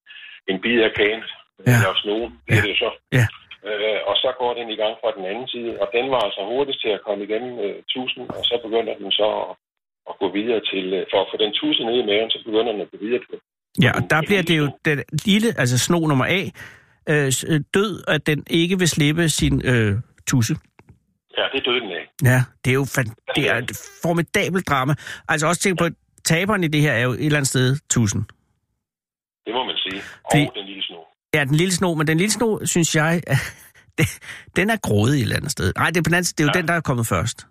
G: en bid af kagen.
B: Ja.
G: Ja. Eller sno, det er det jo så.
B: Ja.
G: Øh, og så går den i gang fra den anden side, og den var altså hurtigst til at komme igennem øh, tusen, og så begynder den så at, at gå videre til, øh, for at få den tusind ned i maven, så begynder den at gå videre på
B: Ja, og der bliver det jo den lille, altså sno nummer A, øh, s- øh, død, at den ikke vil slippe sin øh, tusse.
G: Ja, det døde den af.
B: Ja, det er jo fan, det er et formidabelt drama. Altså også tænk på, at taberen i det her er jo et eller andet sted tusen.
G: Det må man sige. Og
B: Det-
G: den lille sno.
B: Ja, den lille sno, men den lille sno, synes jeg, den er grådig et eller andet sted. Nej, det er, på den anden, side, det er jo ja.
G: Ja.
B: den, der er kommet først.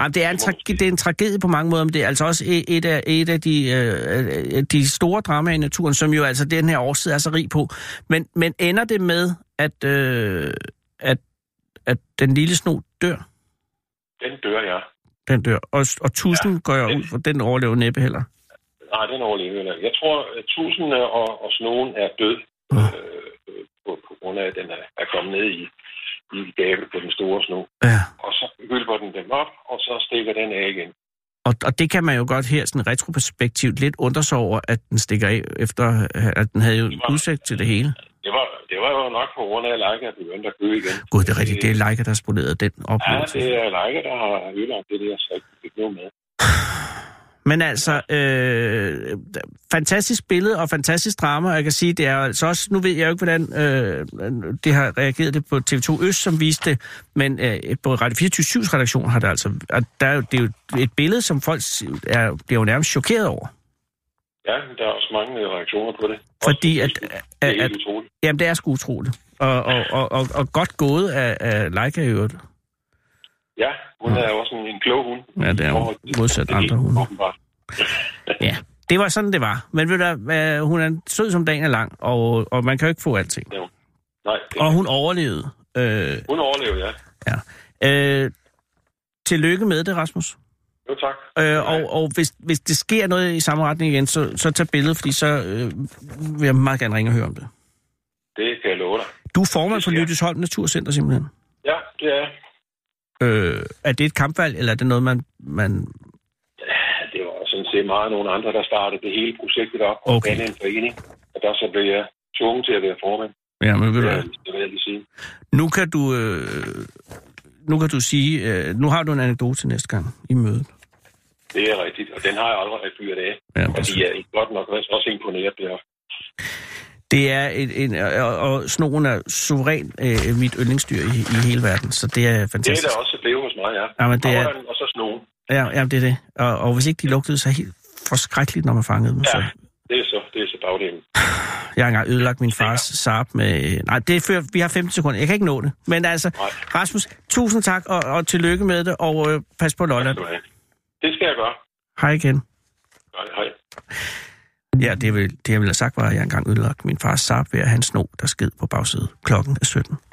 B: Jamen, det, er en
G: Det må man
B: trage,
G: sige.
B: det er en tragedie på mange måder, men det er altså også e- et af, et af de, øh, øh, de store dramaer i naturen, som jo altså den her årstid er så rig på. Men, men ender det med, at, øh, at, at den lille sno dør?
G: Den dør jeg.
B: Den dør. Og, og tusind ja. går jeg ud for, den overlever næppe heller.
G: Nej, den overlever jeg. Jeg tror, at tusind og, og snoen er død øh, øh, på, på grund af, at den er, er kommet ned i, i gabet på den store sno.
B: Ja.
G: Og så hylper den dem op, og så stikker den af igen.
B: Og, og det kan man jo godt her sådan retroperspektivt lidt undre sig over, at den stikker af, efter øh, at den havde jo
G: var-
B: udsigt til det hele.
G: Det var, det var jo nok på grund af, at Leica begyndte at gø igen. Øh,
B: Gud, det er rigtigt. Det er Leica, der spolerede den
G: Ja,
B: oplevelse.
G: det er Leica, der har ødelagt det der, så jeg fik noget med.
B: Men altså, øh, fantastisk billede og fantastisk drama, og jeg kan sige, det er altså også, nu ved jeg jo ikke, hvordan øh, det har reageret det på TV2 Øst, som viste det, men øh, på Radio 24-7's redaktion har det altså, at der er jo, det er jo et billede, som folk er, bliver jo nærmest chokeret over.
G: Ja, der er også mange øh, reaktioner på det.
B: Fordi
G: Også,
B: at-
G: Det er
B: at-
G: helt utroligt.
B: Jamen, det er sgu utroligt. Og, og, og, og, og godt gået af, af Leica i øvrigt.
G: Ja, hun er jo også en, en klog hund.
B: Ja, det er jo
G: Forhold til-
B: modsat
G: til det,
B: andre hunde.
G: åbenbart.
B: Ja. Det var sådan, det var. Men ved du, hvad, hun er sød som dagen er lang, og, og man kan jo ikke få alting.
G: Nej, det,
B: Og hun overlevede. Øh,
G: hun overlever, ja.
B: øh, tillykke med det, Rasmus.
G: Jo, tak.
B: Øh, og og hvis, hvis det sker noget i samme retning igen, så, så tag billedet, fordi så øh, vil jeg meget gerne ringe og høre om det.
G: Det kan jeg love dig.
B: Du er formand for
G: Det sker.
B: Lyttesholm Naturcenter simpelthen.
G: Ja, det er
B: Øh, er det et kampvalg, eller er det noget, man... man
G: ja, det var sådan set meget nogle andre, der startede det hele projektet op og
B: Okay.
G: okay. en forening. Og der så blev jeg tvunget til at være formand.
B: ja, men ved du
G: Ja.
B: hvad?
G: Det vil jeg lige sige.
B: Nu kan du, øh, nu kan du sige, øh, nu har du en anekdote til næste gang i mødet.
G: Det er rigtigt, og den har jeg aldrig fyret af.
B: Ja,
G: Og de er godt nok også imponeret der.
B: det er et, en, og, og snoen er suveræn øh, mit yndlingsdyr i, i hele verden, så det er
G: Det
B: fantastisk.
G: er der også blevet hos mig, ja.
B: Jamen, det er-
G: Havren Og så snogen.
B: ja, ja, det er det. Og, og hvis ikke de lugtede så helt forskrækkeligt, når man fangede dem,
G: Ja,
B: så
G: det er så, det er så bagdelen. igennem.
B: Jeg har engang ødelagt min fars Saab med... Nej, det er før, vi har 15 sekunder. Jeg kan ikke nå det. Men altså,
G: Nej.
B: Rasmus, tusind tak, og, og tillykke med det, og øh, pas på Lolland.
G: Skal du have. Det skal jeg gøre.
B: Hej igen.
G: Hej, hej.
B: Ja, det, vil, det jeg ville have sagt var, at jeg engang ødelagt min fars Saab ved at have en sno, der sked på bagsædet. Klokken er 17.